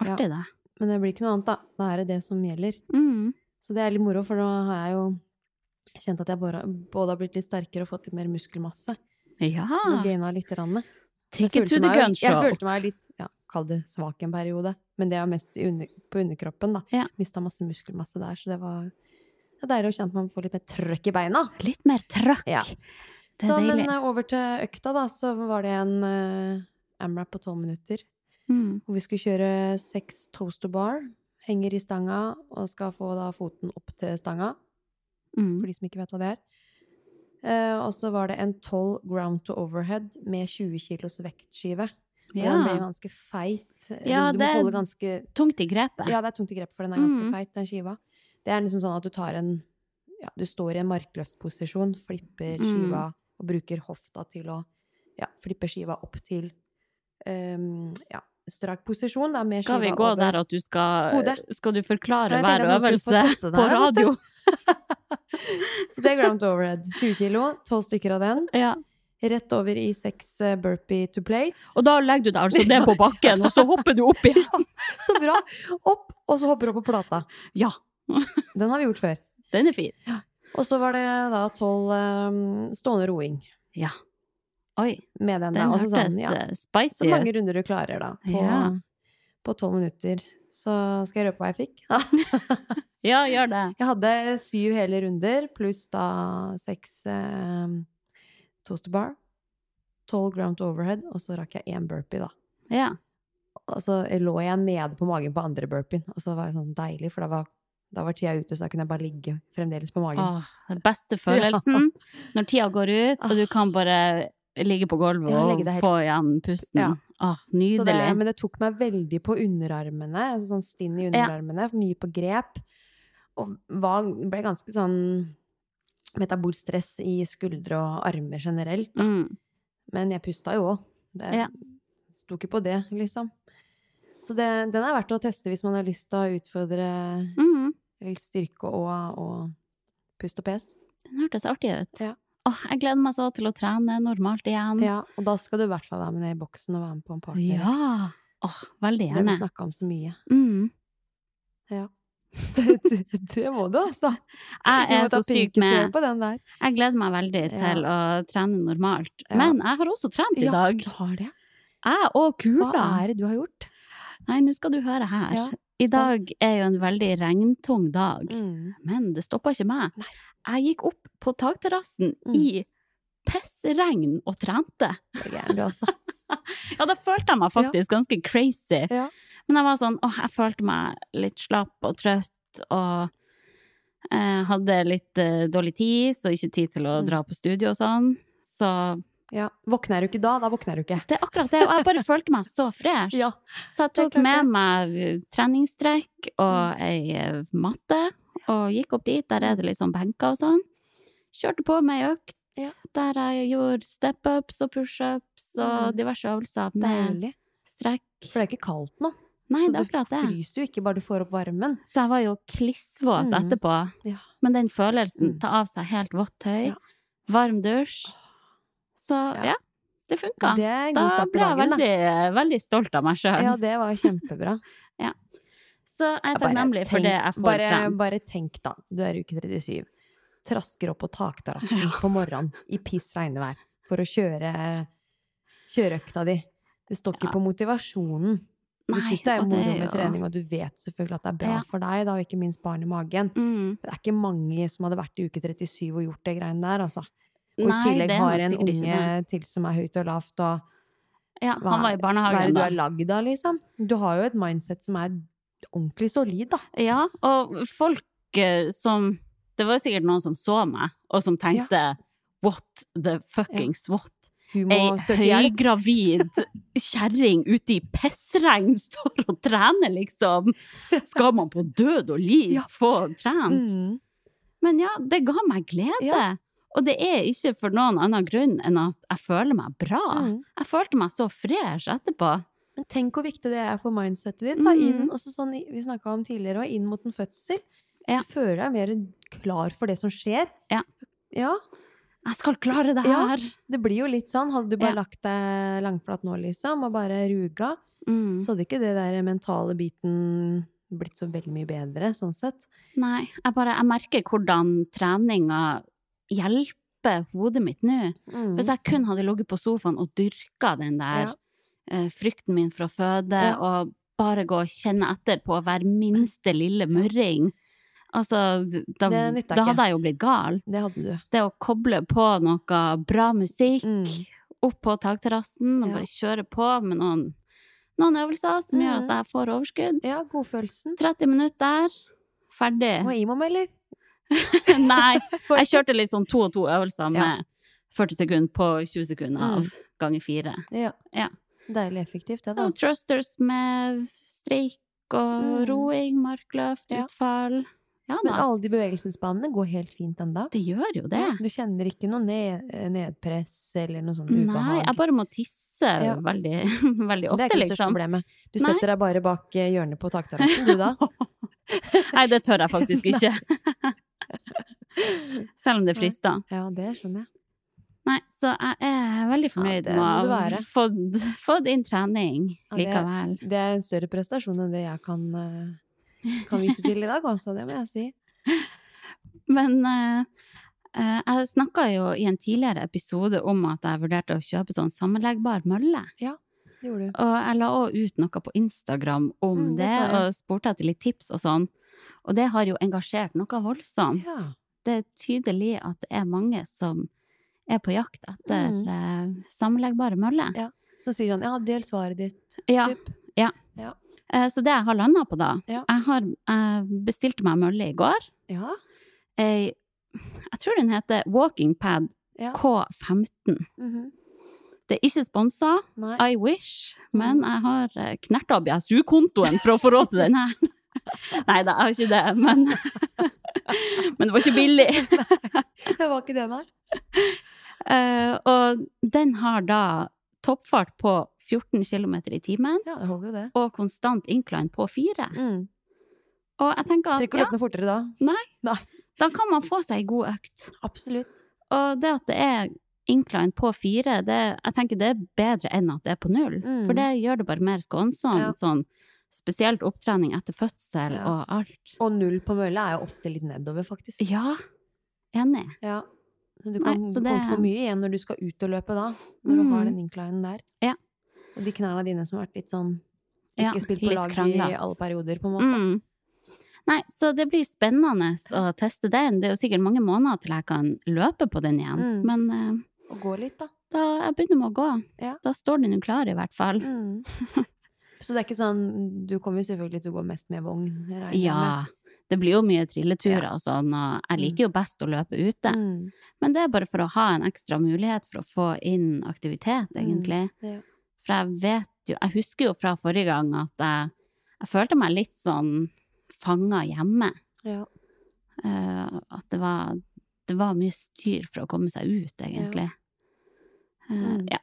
Speaker 3: Artig, det.
Speaker 2: Men det blir ikke noe annet, da. Da er det det som gjelder.
Speaker 3: Mm.
Speaker 2: Så det er litt moro, for nå har jeg jo kjent at jeg bare, både har blitt litt sterkere og fått litt mer muskelmasse.
Speaker 3: Ja.
Speaker 2: Så nå gaina litt. Rann. Jeg
Speaker 3: Take it to
Speaker 2: følte
Speaker 3: the
Speaker 2: meg jo-
Speaker 3: gun
Speaker 2: Jeg
Speaker 3: show.
Speaker 2: følte meg litt ja, kall det svak en periode, men det var mest i under, på underkroppen. da.
Speaker 3: Ja.
Speaker 2: Mista masse muskelmasse der, så det var det er deilig å kjenne at man får litt mer trøkk i beina.
Speaker 3: Litt mer trøkk.
Speaker 2: Ja.
Speaker 3: Det er
Speaker 2: så,
Speaker 3: deilig.
Speaker 2: men eh, over til økta, da, så var det en eh, amrap på tolv minutter.
Speaker 3: mm.
Speaker 2: Hvor vi skulle kjøre seks toast to bar. Henger i stanga og skal få da foten opp til stanga,
Speaker 3: Mm.
Speaker 2: for de som ikke vet hva det er. Eh, og så var det en tolv ground to overhead med 20 kilos vektskive. Og Den ble
Speaker 3: Ja.
Speaker 2: ganske feit. eh,
Speaker 3: Ja,
Speaker 2: du du
Speaker 3: det
Speaker 2: må
Speaker 3: er
Speaker 2: holde ganske
Speaker 3: Tungt i grepet.
Speaker 2: Ja, det er tungt i grep, for den er ganske
Speaker 3: Mm.
Speaker 2: feit, den skiva. Det er nesten sånn at du tar en Ja, du står i en markløftposisjon, flipper
Speaker 3: Mm.
Speaker 2: skiva og bruker hofta til å Ja, flipper skiva opp til ehm, Ja, strak posisjon, da, med
Speaker 3: Skal vi
Speaker 2: skiva
Speaker 3: gå
Speaker 2: over
Speaker 3: der at du skal
Speaker 2: hodet.
Speaker 3: Skal du forklare
Speaker 2: Nei, jeg
Speaker 3: hver
Speaker 2: tenkte at nå
Speaker 3: øvelse
Speaker 2: skulle vi få teste det
Speaker 3: på
Speaker 2: her, vet du.
Speaker 3: radio?
Speaker 2: Så det er ground overhead. 20 kilo, 12 stykker av den.
Speaker 3: Ja.
Speaker 2: Rett over i seks eh, burpee to plate.
Speaker 3: Og da legger du deg altså ned på bakken, og så hopper du opp igjen.
Speaker 2: Så bra! Opp, og så hopper du opp på plata.
Speaker 3: Ja,
Speaker 2: Den har vi gjort før.
Speaker 3: den er fin.
Speaker 2: Og så var det da tolv ehm, stående roing
Speaker 3: Ja. Oi,
Speaker 2: med den.
Speaker 3: den
Speaker 2: da. Og så sa den,
Speaker 3: hørtes
Speaker 2: sånn, ja,
Speaker 3: eh, spicy
Speaker 2: Så mange
Speaker 3: ut.
Speaker 2: runder du klarer, da. På,
Speaker 3: Ja.
Speaker 2: på tolv minutter. Så skal jeg røpe hva jeg fikk.
Speaker 3: Ja, gjør det.
Speaker 2: Jeg hadde syv hele runder, pluss da seks eh, toaster bar. Tolv ground to overhead, og så rakk jeg én burpee, da.
Speaker 3: Ja.
Speaker 2: Og så lå jeg nede på magen på andre burpeen, og så var det sånn deilig, for da var, da var tida ute, så da kunne jeg bare ligge fremdeles på magen.
Speaker 3: Åh, den beste følelsen når tida går ut, og du kan bare ligge på gulvet
Speaker 2: Ja,
Speaker 3: og
Speaker 2: legge deg helt-
Speaker 3: få igjen pusten.
Speaker 2: Ja.
Speaker 3: Åh,
Speaker 2: Så det,
Speaker 3: nydelig.
Speaker 2: men det tok meg veldig på underarmene, altså sånn stinn i underarmene, mye på grep. Og var, ble ganske sånn metabol stress i skuldre og armer generelt. da.
Speaker 3: Mm.
Speaker 2: Men jeg pusta jo òg. Det
Speaker 3: Ja.
Speaker 2: sto ikke på det, liksom. Så det, den er verdt å teste hvis man har lyst til å utfordre
Speaker 3: Mm.
Speaker 2: litt styrke og, og pust og pes.
Speaker 3: Den hørtes artig ut.
Speaker 2: Ja.
Speaker 3: Åh, jeg gleder meg så til å trene normalt igjen.
Speaker 2: Ja, og da skal du i hvert fall være med ned i boksen og være med på en partner.
Speaker 3: Ja. Åh, veldig
Speaker 2: Det har vi
Speaker 3: gjerne.
Speaker 2: snakka om så mye.
Speaker 3: Mm.
Speaker 2: det, det, det må du, altså. Du
Speaker 3: Jeg
Speaker 2: må ta
Speaker 3: er så sykt
Speaker 2: pinkesvær
Speaker 3: med.
Speaker 2: på den der.
Speaker 3: Jeg gleder meg veldig til å trene normalt.
Speaker 2: Ja.
Speaker 3: Men jeg har også trent i
Speaker 2: Ja,
Speaker 3: dag.
Speaker 2: du har det.
Speaker 3: Jeg og
Speaker 2: Hva
Speaker 3: kula.
Speaker 2: er det du har gjort?
Speaker 3: Nei, nå skal du høre her.
Speaker 2: Ja, Mm.
Speaker 3: I dag er jo en veldig regntung dag, men det stoppa ikke meg.
Speaker 2: Nei.
Speaker 3: Jeg gikk opp på takterrassen
Speaker 2: Mm.
Speaker 3: i pissregn og trente.
Speaker 2: Du er gæren, du, altså.
Speaker 3: Ja, da følte jeg meg faktisk ganske crazy.
Speaker 2: Ja.
Speaker 3: Men jeg var sånn, åh, jeg følte meg litt slapp og trøtt, og eh, hadde litt eh, dårlig tid, så ikke tid til å
Speaker 2: Mm.
Speaker 3: dra på studio og sånn. Så
Speaker 2: Ja. Våkner du ikke da, da våkner du ikke.
Speaker 3: det er akkurat det, og jeg bare følte meg så fresh. Så jeg
Speaker 2: Det er
Speaker 3: tok
Speaker 2: klart
Speaker 3: med
Speaker 2: det. Mm.
Speaker 3: meg eh, treningstrekk og ei eh, matte, og gikk opp dit, der er det litt sånn benker og sånn. kjørte på med ei økt
Speaker 2: Ja.
Speaker 3: der jeg gjorde step-ups og pushups og
Speaker 2: Mm.
Speaker 3: diverse øvelser med
Speaker 2: Deilig.
Speaker 3: strekk.
Speaker 2: For det er ikke kaldt nå.
Speaker 3: Nei,
Speaker 2: Så
Speaker 3: det er akkurat det.
Speaker 2: Du fryser jo ikke bare du får opp varmen.
Speaker 3: Så jeg var jo klissvåt
Speaker 2: Mm.
Speaker 3: etterpå.
Speaker 2: Ja.
Speaker 3: Men den følelsen,
Speaker 2: Mm.
Speaker 3: ta av seg helt vått tøy,
Speaker 2: Ja.
Speaker 3: varm dusj Så
Speaker 2: Ja.
Speaker 3: ja, det funka.
Speaker 2: Det er en
Speaker 3: Da
Speaker 2: god start på
Speaker 3: ble jeg
Speaker 2: dagen, da.
Speaker 3: veldig, eh, veldig stolt av meg sjøl.
Speaker 2: Ja, det var kjempebra.
Speaker 3: Så jeg
Speaker 2: Bare
Speaker 3: er takknemlig for
Speaker 2: tenk-
Speaker 3: det jeg får
Speaker 2: bare,
Speaker 3: trent.
Speaker 2: Bare tenk, da. Du er i uke 37. Trasker opp på takterrassen på morgenen i piss regnvær for å kjøre, kjøre økta di. Det står ikke
Speaker 3: Ja.
Speaker 2: på motivasjonen. Du
Speaker 3: Nei,
Speaker 2: syns det er
Speaker 3: og
Speaker 2: moro
Speaker 3: er
Speaker 2: med
Speaker 3: jo-
Speaker 2: trening, og du vet selvfølgelig at det er bra
Speaker 3: Ja.
Speaker 2: for deg, da, og ikke minst barn i magen.
Speaker 3: Mm.
Speaker 2: Det er ikke mange som hadde vært i uke 37 og gjort det greiene der, altså. Og
Speaker 3: Nei,
Speaker 2: i tillegg
Speaker 3: det er nok
Speaker 2: har en
Speaker 3: sikkert ikke
Speaker 2: unge
Speaker 3: det.
Speaker 2: til som er høyt og lavt, og
Speaker 3: Ja, han var i
Speaker 2: hva er det
Speaker 3: barnehagen
Speaker 2: du
Speaker 3: da.
Speaker 2: er lagd av, liksom? Du har jo et mindset som er ordentlig solid, da.
Speaker 3: Ja, og folk eh, som Det var jo sikkert noen som så meg, og som tenkte What the fuckings what?
Speaker 2: Hun må
Speaker 3: Ei
Speaker 2: søke hjelp.
Speaker 3: høygravid kjerring ute i pissregn står og trener, liksom! Skal man på død og liv
Speaker 2: Ja.
Speaker 3: få trent?
Speaker 2: Mm.
Speaker 3: Men ja, det ga meg glede.
Speaker 2: Ja.
Speaker 3: Og det er ikke for noen annen grunn enn at jeg føler meg bra.
Speaker 2: Mm.
Speaker 3: Jeg følte meg så fresh etterpå.
Speaker 2: Men tenk hvor viktig det er for mindsetet ditt. Da. Inn,
Speaker 3: Mhm.
Speaker 2: også sånn i- vi snakka om tidligere, og inn mot en fødsel.
Speaker 3: Ja.
Speaker 2: Du føler deg mer klar for det som skjer.
Speaker 3: Ja.
Speaker 2: Ja,
Speaker 3: Jeg skal klare det
Speaker 2: Ja.
Speaker 3: her!
Speaker 2: Det blir jo litt sånn. Hadde du bare
Speaker 3: Ja.
Speaker 2: lagt deg langflat nå, liksom, og bare ruga,
Speaker 3: Mm.
Speaker 2: så hadde ikke det der mentale biten blitt så veldig mye bedre, sånn sett.
Speaker 3: Nei, jeg bare jeg merker hvordan treninga hjelper hodet mitt nå.
Speaker 2: Mm.
Speaker 3: Hvis jeg kun hadde ligget på sofaen og dyrka den der
Speaker 2: Ja.
Speaker 3: eh, frykten min fra føde,
Speaker 2: Ja.
Speaker 3: og bare gå og kjenne etter på hver minste lille murring Altså, da,
Speaker 2: Det nytter
Speaker 3: da
Speaker 2: ikke.
Speaker 3: hadde jeg jo blitt gal.
Speaker 2: Det hadde du.
Speaker 3: Det å koble på noe bra musikk
Speaker 2: Mm.
Speaker 3: opp på takterrassen og
Speaker 2: Ja.
Speaker 3: bare kjøre på med noen, noen øvelser som gjør
Speaker 2: Mm.
Speaker 3: at jeg får overskudd.
Speaker 2: Ja, godfølelsen.
Speaker 3: 30 minutter der, ferdig.
Speaker 2: Og Imom, eller?
Speaker 3: Nei, jeg kjørte litt sånn to og to øvelser
Speaker 2: Ja. Mm.
Speaker 3: med 40 sekunder på 20 sekunder av ganger fire.
Speaker 2: Ja.
Speaker 3: Ja.
Speaker 2: Deilig effektivt, det, da.
Speaker 3: Og thrusters med streik og
Speaker 2: Mm.
Speaker 3: roing, markløft,
Speaker 2: Ja.
Speaker 3: utfall. Ja
Speaker 2: Men
Speaker 3: da,
Speaker 2: alle de bevegelsesbanene går helt fint ennå.
Speaker 3: det gjør jo det.
Speaker 2: Ja, Du kjenner ikke noe ned, nedpress eller noe sånn ubehag?
Speaker 3: Nei, jeg bare må tisse
Speaker 2: Ja.
Speaker 3: veldig,
Speaker 2: det
Speaker 3: veldig
Speaker 2: er
Speaker 3: ofte,
Speaker 2: ikke det største
Speaker 3: liksom.
Speaker 2: problemet. Du
Speaker 3: Nei.
Speaker 2: setter deg bare bak eh, hjørnet på takterrassen, du da.
Speaker 3: Nei, det tør jeg faktisk ikke. Selv om det
Speaker 2: Nei.
Speaker 3: frister.
Speaker 2: Ja, det skjønner jeg.
Speaker 3: Nei, så jeg er veldig fornøyd
Speaker 2: det må
Speaker 3: med
Speaker 2: du
Speaker 3: å ha
Speaker 2: være.
Speaker 3: fått, fått inn trening
Speaker 2: Ja, det-
Speaker 3: likevel.
Speaker 2: Det er en større prestasjon enn det jeg kan, eh, kan vise til i dag, altså. Det må jeg si.
Speaker 3: Men eh, eh, jeg snakka jo i en tidligere episode om at jeg vurderte å kjøpe sånn sammenleggbar mølle.
Speaker 2: Det gjorde du.
Speaker 3: Og jeg la òg ut noe på Instagram om
Speaker 2: Mm, det
Speaker 3: det,
Speaker 2: så jeg.
Speaker 3: og spurte etter litt tips og sånn. Og det har jo engasjert noe voldsomt.
Speaker 2: Ja.
Speaker 3: Det er tydelig at det er mange som er på jakt etter
Speaker 2: Mm.
Speaker 3: eh, sammenleggbare møller.
Speaker 2: Ja. Så sier han ja, del svaret ditt.
Speaker 3: Ja.
Speaker 2: Typ.
Speaker 3: ja.
Speaker 2: Ja.
Speaker 3: Eh, Så det jeg har landa på, da
Speaker 2: Ja.
Speaker 3: Jeg har, jeg bestilte meg mølle i går.
Speaker 2: Ja.
Speaker 3: Ei, jeg tror den heter Walking Pad
Speaker 2: ja.
Speaker 3: K15.
Speaker 2: Mhm.
Speaker 3: Det er ikke sponsa,
Speaker 2: Nei.
Speaker 3: I wish,
Speaker 2: Mm.
Speaker 3: men jeg har eh, knerta BSU-kontoen for å få råd til den her. Nei da, jeg har ikke det, men Men det var ikke billig.
Speaker 2: Det var ikke det, nei.
Speaker 3: Eh, og den har da toppfart på 14 km i timen
Speaker 2: Ja, det holder jo det.
Speaker 3: og konstant incline på fire.
Speaker 2: Mm.
Speaker 3: Og jeg tenker
Speaker 2: Trenger
Speaker 3: at
Speaker 2: ikke å
Speaker 3: ja,
Speaker 2: løpe noe fortere da.
Speaker 3: da kan man få seg ei god økt.
Speaker 2: Absolutt.
Speaker 3: Og det at det er incline på fire, det, jeg tenker det er bedre enn at det er på null.
Speaker 2: Mm.
Speaker 3: For det gjør det bare mer
Speaker 2: Ja.
Speaker 3: skånsomt. Sånn, spesielt opptrening etter fødsel
Speaker 2: Ja.
Speaker 3: og alt.
Speaker 2: Og null på mølle er jo ofte litt nedover, faktisk.
Speaker 3: Ja, enig.
Speaker 2: Ja. Men Du kan
Speaker 3: Nei, så
Speaker 2: komme
Speaker 3: det-
Speaker 2: til for mye igjen når du skal ut og løpe, da. Når du
Speaker 3: Mm.
Speaker 2: har den inclinen der.
Speaker 3: Ja.
Speaker 2: Og de knærne dine som har vært litt sånn
Speaker 3: Ja,
Speaker 2: Ikke spilt på
Speaker 3: litt
Speaker 2: lag
Speaker 3: kranglet.
Speaker 2: i alle perioder, på en måte.
Speaker 3: Mm. Nei, så det blir spennende å teste den. Det er jo sikkert mange måneder til jeg kan løpe på den igjen.
Speaker 2: Mm.
Speaker 3: Men eh,
Speaker 2: Og gå litt, da.
Speaker 3: da jeg begynner med å gå,
Speaker 2: Ja.
Speaker 3: da står den jo klar, i hvert fall.
Speaker 2: Mm. Så det er ikke sånn Du kommer jo selvfølgelig til å gå mest med vogn, regner jeg med.
Speaker 3: Ja. Det blir jo mye trilleturer og sånn, og jeg liker jo best å løpe ute.
Speaker 2: Mm.
Speaker 3: Men det er bare for å ha en ekstra mulighet for å få inn aktivitet, egentlig.
Speaker 2: Mm. ja.
Speaker 3: For jeg vet jo Jeg husker jo fra forrige gang at jeg, jeg følte meg litt sånn fanga hjemme.
Speaker 2: Ja.
Speaker 3: Eh, at det var det var mye styr for å komme seg ut, egentlig. Eh,
Speaker 2: Mm.
Speaker 3: ja.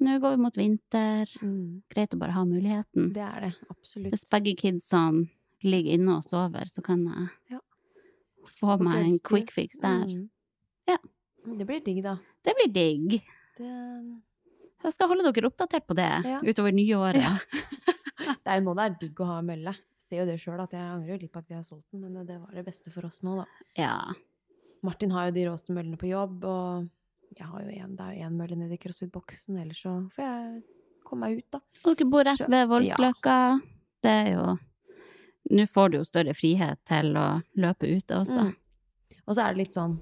Speaker 3: Nå går vi mot vinter.
Speaker 2: Mm.
Speaker 3: Greit å bare ha muligheten.
Speaker 2: Det er det. Absolutt.
Speaker 3: Hvis begge kidsene ligger inne og sover, så kan jeg
Speaker 2: Ja.
Speaker 3: få
Speaker 2: På
Speaker 3: meg en
Speaker 2: kveldstid.
Speaker 3: quick fix der.
Speaker 2: Mm.
Speaker 3: Ja.
Speaker 2: Det blir digg, da.
Speaker 3: Det blir digg.
Speaker 2: Det,
Speaker 3: Så jeg skal holde dere oppdatert på det
Speaker 2: Ja.
Speaker 3: utover nyåret.
Speaker 2: det er jo nå det er digg å ha mølle. Jeg ser jo det sjøl at jeg angrer jo litt på at vi har solgt den, men det var det beste for oss nå, da.
Speaker 3: Ja.
Speaker 2: Martin har jo de råeste møllene på jobb, og jeg har jo en, det er jo én mølle nedi crossfit-boksen, ellers så får jeg komme meg ut, da.
Speaker 3: Og dere bor rett
Speaker 2: Så-
Speaker 3: ved Voldsløkka. Det er jo Nå får du jo større frihet til å løpe ute også.
Speaker 2: Mm. Og så er det litt sånn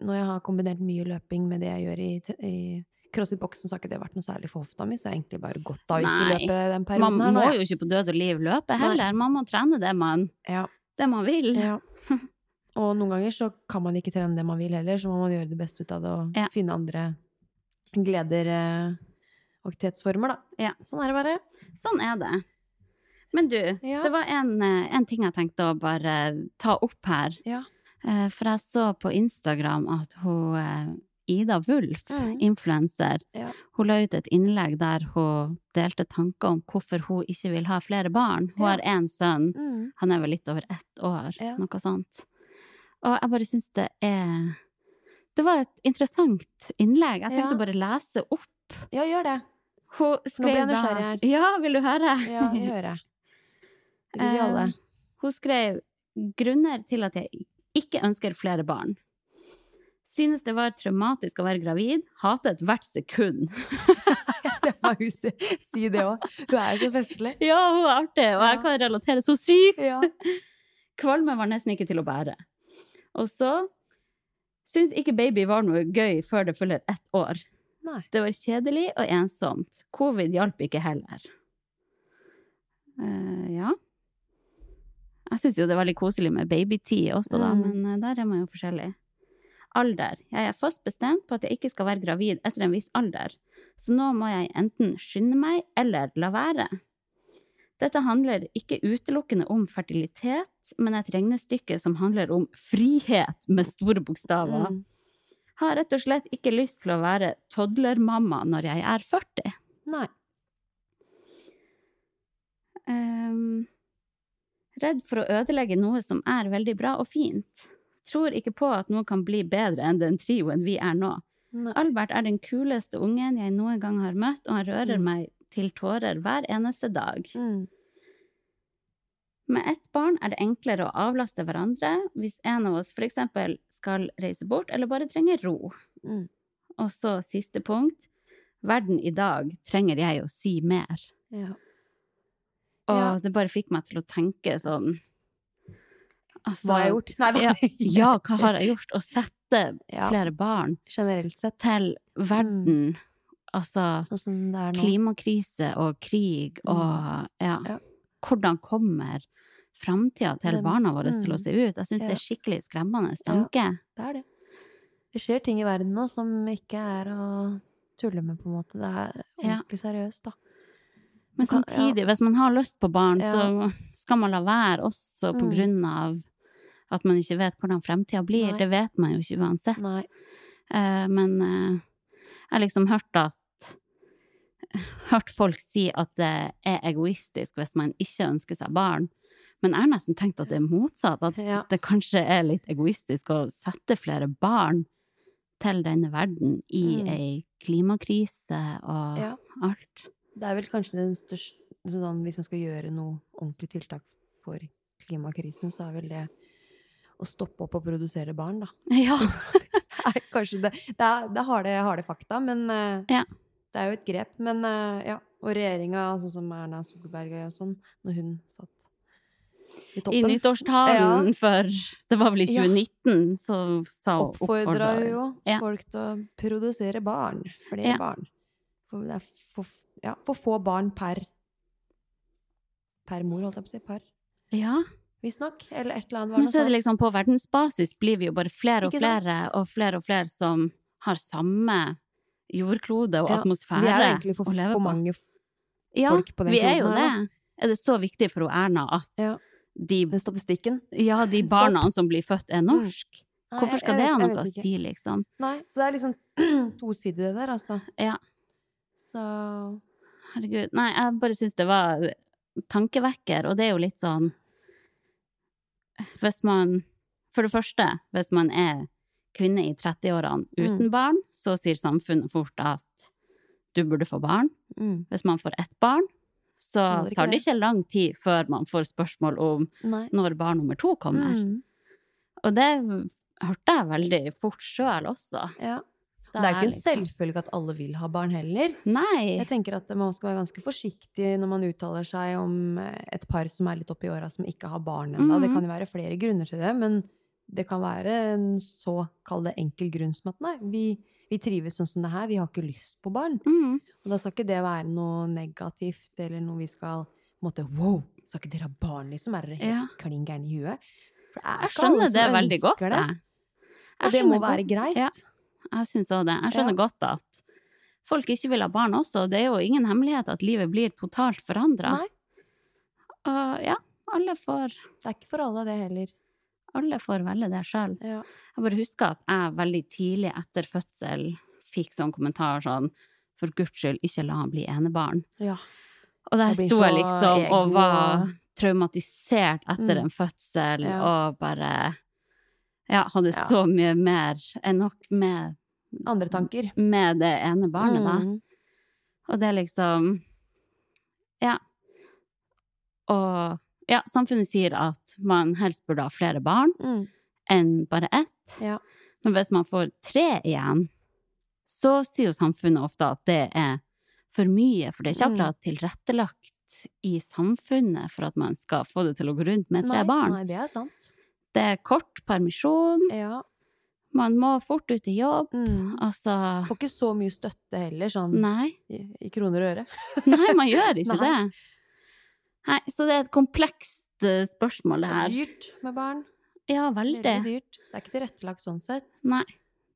Speaker 2: Når jeg har kombinert mye løping med det jeg gjør i, t- i crossfit-boksen, så har ikke det vært noe særlig for hofta mi, så jeg har egentlig bare godt av å ikke
Speaker 3: Nei.
Speaker 2: løpe den
Speaker 3: Man
Speaker 2: perioden her. nå,
Speaker 3: må
Speaker 2: jeg.
Speaker 3: jo ikke på død og liv løpe heller. Man må trene det man,
Speaker 2: Ja.
Speaker 3: det man vil.
Speaker 2: Ja. Og noen ganger så kan man ikke trene det man vil heller, så må man gjøre det beste ut av det og
Speaker 3: Ja.
Speaker 2: finne andre gleder eh, og aktivitetsformer, da.
Speaker 3: Ja.
Speaker 2: Sånn er det bare.
Speaker 3: Sånn er det. Men du,
Speaker 2: Ja.
Speaker 3: det var en, eh, en ting jeg tenkte å bare eh, ta opp her.
Speaker 2: Ja.
Speaker 3: Eh, For jeg så på Instagram at hun, eh, Ida Wulf,
Speaker 2: Mm.
Speaker 3: influenser,
Speaker 2: Ja.
Speaker 3: hun la ut et innlegg der hun delte tanker om hvorfor hun ikke vil ha flere barn. Hun
Speaker 2: Ja.
Speaker 3: har én sønn,
Speaker 2: Mm.
Speaker 3: han er vel litt over ett år,
Speaker 2: Ja.
Speaker 3: noe sånt. Og jeg bare syns det er Det var et interessant innlegg. Jeg tenkte
Speaker 2: Ja.
Speaker 3: å bare lese opp.
Speaker 2: ja, gjør det.
Speaker 3: Hun skrev
Speaker 2: jeg
Speaker 3: da-
Speaker 2: nysgjerrig her.
Speaker 3: Ja, vil du høre?
Speaker 2: Ja, det hører jeg. Det vil vi alle.
Speaker 3: Eh, Hun skrev grunner til at jeg ikke ønsker flere barn. Synes det var traumatisk å være gravid. Hatet hvert sekund.
Speaker 2: Se for meg hun si det òg. Hun er jo så festlig.
Speaker 3: Ja, hun er artig, og jeg
Speaker 2: Ja.
Speaker 3: kan relatere så sykt.
Speaker 2: Ja.
Speaker 3: Kvalme var nesten ikke til å bære. Og så Syns ikke baby var noe gøy før det følger ett år.
Speaker 2: Nei.
Speaker 3: Det var kjedelig og ensomt. Covid hjalp ikke heller. Eh, ja. Jeg syns jo det er veldig koselig med babytid også, da,
Speaker 2: Mm.
Speaker 3: men eh, der er man jo forskjellig. Alder. Jeg er fast bestemt på at jeg ikke skal være gravid etter en viss alder, så nå må jeg enten skynde meg eller la være. Dette handler ikke utelukkende om fertilitet, men et regnestykke som handler om frihet med store bokstaver
Speaker 2: Mm.
Speaker 3: har rett og slett ikke lyst til å være toddlermamma når jeg er 40.
Speaker 2: Nei.
Speaker 3: Ehm, redd for å ødelegge noe som er veldig bra og fint. Tror ikke på at noe kan bli bedre enn den trioen vi er nå.
Speaker 2: Nei.
Speaker 3: Albert er den kuleste ungen jeg noen gang har møtt, og han rører
Speaker 2: Mm.
Speaker 3: meg til tårer hver eneste dag.
Speaker 2: Mm.
Speaker 3: Med ett barn er det enklere å avlaste hverandre hvis en av oss f.eks. skal reise bort eller bare trenger ro.
Speaker 2: Mm.
Speaker 3: Og så siste punkt. Verden i dag trenger jeg å si mer.
Speaker 2: Ja.
Speaker 3: Og
Speaker 2: Ja.
Speaker 3: det bare fikk meg til å tenke sånn altså,
Speaker 2: Hva har jeg gjort? Nei,
Speaker 3: Ja, ja, hva har jeg gjort? Å sette
Speaker 2: Ja. Mm.
Speaker 3: flere barn
Speaker 2: Generelt sett.
Speaker 3: til verden. Altså
Speaker 2: Sånn som det er nå. Mm.
Speaker 3: klimakrise og krig og ja.
Speaker 2: Ja.
Speaker 3: Hvordan kommer framtida til
Speaker 2: Dem-
Speaker 3: barna våre til
Speaker 2: mm.
Speaker 3: å se ut? Jeg syns det
Speaker 2: Ja.
Speaker 3: er skikkelig skremmende tanke.
Speaker 2: Det er det. Det skjer ting i verden nå som ikke er å tulle med, på en måte. Det er
Speaker 3: Ja.
Speaker 2: ordentlig seriøst, da.
Speaker 3: Men
Speaker 2: Kan- ja.
Speaker 3: samtidig, hvis man har lyst på barn,
Speaker 2: Ja.
Speaker 3: så skal man la være, også på
Speaker 2: Mm.
Speaker 3: grunn av at man ikke vet hvordan fremtida blir.
Speaker 2: Nei.
Speaker 3: Det vet man jo ikke uansett.
Speaker 2: Nei.
Speaker 3: Eh, men eh, jeg har liksom hørt at Hørt folk si at det er egoistisk hvis man ikke ønsker seg barn. Men jeg har nesten tenkt at det er motsatt. At
Speaker 2: Ja.
Speaker 3: det kanskje er litt egoistisk å sette flere barn til denne verden i
Speaker 2: Mm.
Speaker 3: ei klimakrise og
Speaker 2: Ja.
Speaker 3: alt.
Speaker 2: Det er vel kanskje den største sånn, Hvis man skal gjøre noe ordentlig tiltak for klimakrisen, så er vel det å stoppe opp og produsere barn, da.
Speaker 3: Ja.
Speaker 2: er kanskje det Det er, det er harde, harde fakta, men eh,
Speaker 3: Ja.
Speaker 2: det er jo et grep. Men eh, ja. Og regjeringa, sånn som Erna Solberg og sånn, når hun satt i
Speaker 3: I
Speaker 2: toppen,
Speaker 3: nyttårstalen
Speaker 2: Ja.
Speaker 3: for Det var vel i
Speaker 2: Ja.
Speaker 3: 2019, så sa hun
Speaker 2: oppfordra
Speaker 3: oppfordret-
Speaker 2: jo
Speaker 3: Ja.
Speaker 2: folk til å produsere barn. Flere
Speaker 3: Ja.
Speaker 2: barn. For det er for, ja, for få barn per Per mor, holdt jeg på å si. Per.
Speaker 3: Ja.
Speaker 2: Visstnok. Eller et eller annet. var
Speaker 3: Men
Speaker 2: noe
Speaker 3: så er det
Speaker 2: sånt.
Speaker 3: liksom på verdensbasis blir vi jo bare flere og
Speaker 2: Ikke sant?
Speaker 3: flere og flere og flere som har samme jordklode og
Speaker 2: Ja,
Speaker 3: atmosfære
Speaker 2: Vi er jo egentlig for,
Speaker 3: å leve
Speaker 2: for
Speaker 3: på.
Speaker 2: mange f-
Speaker 3: ja,
Speaker 2: folk på den
Speaker 3: vi er
Speaker 2: kloden
Speaker 3: jo
Speaker 2: her,
Speaker 3: det. Er det så viktig for hun Erna at
Speaker 2: Ja.
Speaker 3: de,
Speaker 2: Den statistikken.
Speaker 3: ja, de barna som blir født, er norsk?
Speaker 2: Mm. Nei,
Speaker 3: Hvorfor
Speaker 2: jeg-
Speaker 3: skal
Speaker 2: jeg
Speaker 3: det
Speaker 2: vet-
Speaker 3: ha
Speaker 2: jeg
Speaker 3: noe å
Speaker 2: vet ikke.
Speaker 3: si, liksom?
Speaker 2: Nei, så det er liksom tosidig det der, altså.
Speaker 3: Ja.
Speaker 2: Så
Speaker 3: Herregud. Nei, jeg bare syns det var tankevekker, og det er jo litt sånn Hvis man For det første, hvis man er kvinne i
Speaker 2: Mm.
Speaker 3: 30-årene uten barn, så sier samfunnet fort at du burde få barn.
Speaker 2: mm,
Speaker 3: Hvis man får ett barn, så
Speaker 2: Skjønner ikke
Speaker 3: tar det
Speaker 2: det.
Speaker 3: ikke lang tid før man får spørsmål om
Speaker 2: Nei.
Speaker 3: når barn nummer to kommer.
Speaker 2: Mm,
Speaker 3: Og det hørte jeg veldig fort sjøl også. liksom-
Speaker 2: ja. Det er liksom jo ikke en selvfølge at alle vil ha barn heller.
Speaker 3: Nei.
Speaker 2: Jeg tenker at man skal være ganske forsiktig når man uttaler seg om et par som er litt oppi åra, som ikke har barn ennå. Det
Speaker 3: Mhm.
Speaker 2: kan jo være flere grunner til det, men det kan være en så kall det enkel grunn som at nei, vi, vi trives sånn som det her, vi har ikke lyst på barn.
Speaker 3: Mm.
Speaker 2: Og da skal ikke det være noe negativt eller noe vi skal på en måte, Wow, skal ikke dere ha barn, liksom? Er dere helt
Speaker 3: Ja.
Speaker 2: klin gærne i huet? For det er
Speaker 3: Jeg
Speaker 2: ikke alle
Speaker 3: skjønner
Speaker 2: som
Speaker 3: det veldig
Speaker 2: ønsker
Speaker 3: godt,
Speaker 2: det.
Speaker 3: jeg. Jeg
Speaker 2: Og det må
Speaker 3: skjønner
Speaker 2: være
Speaker 3: godt-
Speaker 2: greit.
Speaker 3: Ja, jeg syns òg det. Jeg skjønner
Speaker 2: Ja.
Speaker 3: godt at folk ikke vil ha barn også. Det er jo ingen hemmelighet at livet blir totalt forandra.
Speaker 2: Nei,
Speaker 3: Og ja, alle får,
Speaker 2: det er ikke for alle, det heller.
Speaker 3: alle får velge det sjøl.
Speaker 2: Ja.
Speaker 3: Jeg bare husker at jeg veldig tidlig etter fødsel fikk sånn kommentar sånn For guds skyld, ikke la han bli enebarn.
Speaker 2: ja.
Speaker 3: Og der
Speaker 2: Jeg blir
Speaker 3: sto jeg
Speaker 2: så
Speaker 3: liksom og
Speaker 2: ego-
Speaker 3: var traumatisert etter
Speaker 2: Mm.
Speaker 3: en fødsel
Speaker 2: Ja.
Speaker 3: og bare ja, hadde
Speaker 2: Ja.
Speaker 3: så mye mer enn nok med,
Speaker 2: Andre tanker.
Speaker 3: med det ene barnet, da.
Speaker 2: Mm.
Speaker 3: Og det er liksom Ja. Og ja, samfunnet sier at man helst burde ha flere barn
Speaker 2: Mm.
Speaker 3: enn bare ett.
Speaker 2: Ja.
Speaker 3: Men hvis man får tre igjen, så sier jo samfunnet ofte at det er for mye, for det er ikke
Speaker 2: Mm.
Speaker 3: akkurat tilrettelagt i samfunnet for at man skal få det til å gå rundt med tre
Speaker 2: nei,
Speaker 3: barn.
Speaker 2: Nei, det er sant.
Speaker 3: Det er kort permisjon,
Speaker 2: Ja.
Speaker 3: man må fort ut i jobb,
Speaker 2: Mm.
Speaker 3: altså
Speaker 2: Får ikke så mye støtte heller, sånn
Speaker 3: Nei.
Speaker 2: i, i kroner og øre.
Speaker 3: Nei, man gjør ikke
Speaker 2: Nei.
Speaker 3: det. Nei, så det er et komplekst eh, spørsmål, det
Speaker 2: Det er
Speaker 3: her.
Speaker 2: dyrt med barn.
Speaker 3: Ja,
Speaker 2: Veldig
Speaker 3: veldig.
Speaker 2: dyrt. Det er ikke tilrettelagt sånn sett.
Speaker 3: Nei,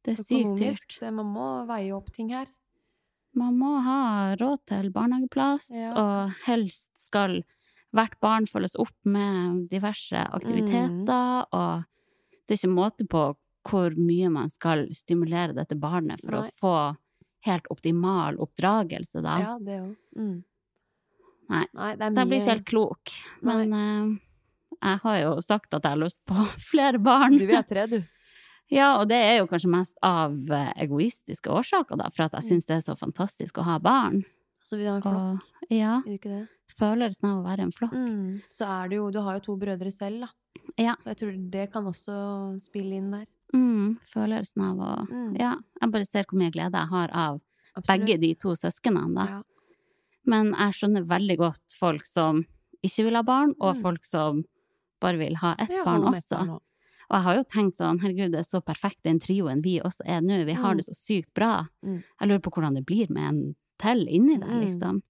Speaker 3: det er sykt
Speaker 2: Økonomisk.
Speaker 3: dyrt.
Speaker 2: Det, man må veie opp ting her.
Speaker 3: Man må ha råd til barnehageplass,
Speaker 2: Ja.
Speaker 3: og helst skal hvert barn følges opp med diverse
Speaker 2: Mm.
Speaker 3: aktiviteter, og det er ikke måte på hvor mye man skal stimulere dette barnet for
Speaker 2: Nei.
Speaker 3: å få helt optimal oppdragelse, da.
Speaker 2: Ja, det òg. Mm.
Speaker 3: Nei.
Speaker 2: det er
Speaker 3: Så jeg blir
Speaker 2: mye
Speaker 3: ikke helt klok. Men eh, jeg har jo sagt at jeg har lyst på flere barn.
Speaker 2: Du vil ha tre, du.
Speaker 3: Ja, og det er jo kanskje mest av eh, egoistiske årsaker, da, for at jeg syns det er så fantastisk å ha barn.
Speaker 2: Så vil du ha Mm. en flokk.
Speaker 3: Og ja,
Speaker 2: Vil du ikke det?
Speaker 3: følelsen av å være en flokk.
Speaker 2: Mm. Så er det jo Du har jo to brødre selv, da.
Speaker 3: Ja.
Speaker 2: Og jeg tror det kan også spille inn der.
Speaker 3: Mm, følelsen av å
Speaker 2: Mm.
Speaker 3: Ja, jeg bare ser hvor mye glede jeg har av
Speaker 2: Absolutt.
Speaker 3: begge de to søsknene, da.
Speaker 2: Ja.
Speaker 3: Men jeg skjønner veldig godt folk som ikke vil ha barn, og
Speaker 2: Mm.
Speaker 3: folk som bare vil ha ett
Speaker 2: Ja,
Speaker 3: barn
Speaker 2: han med
Speaker 3: også.
Speaker 2: barn også.
Speaker 3: Og jeg har jo tenkt sånn, herregud, det er så perfekt den trioen vi også er nå, vi har
Speaker 2: Mm.
Speaker 3: det så sykt bra.
Speaker 2: Mm.
Speaker 3: Jeg lurer på hvordan det blir med en til inni der,
Speaker 2: Mm.
Speaker 3: liksom.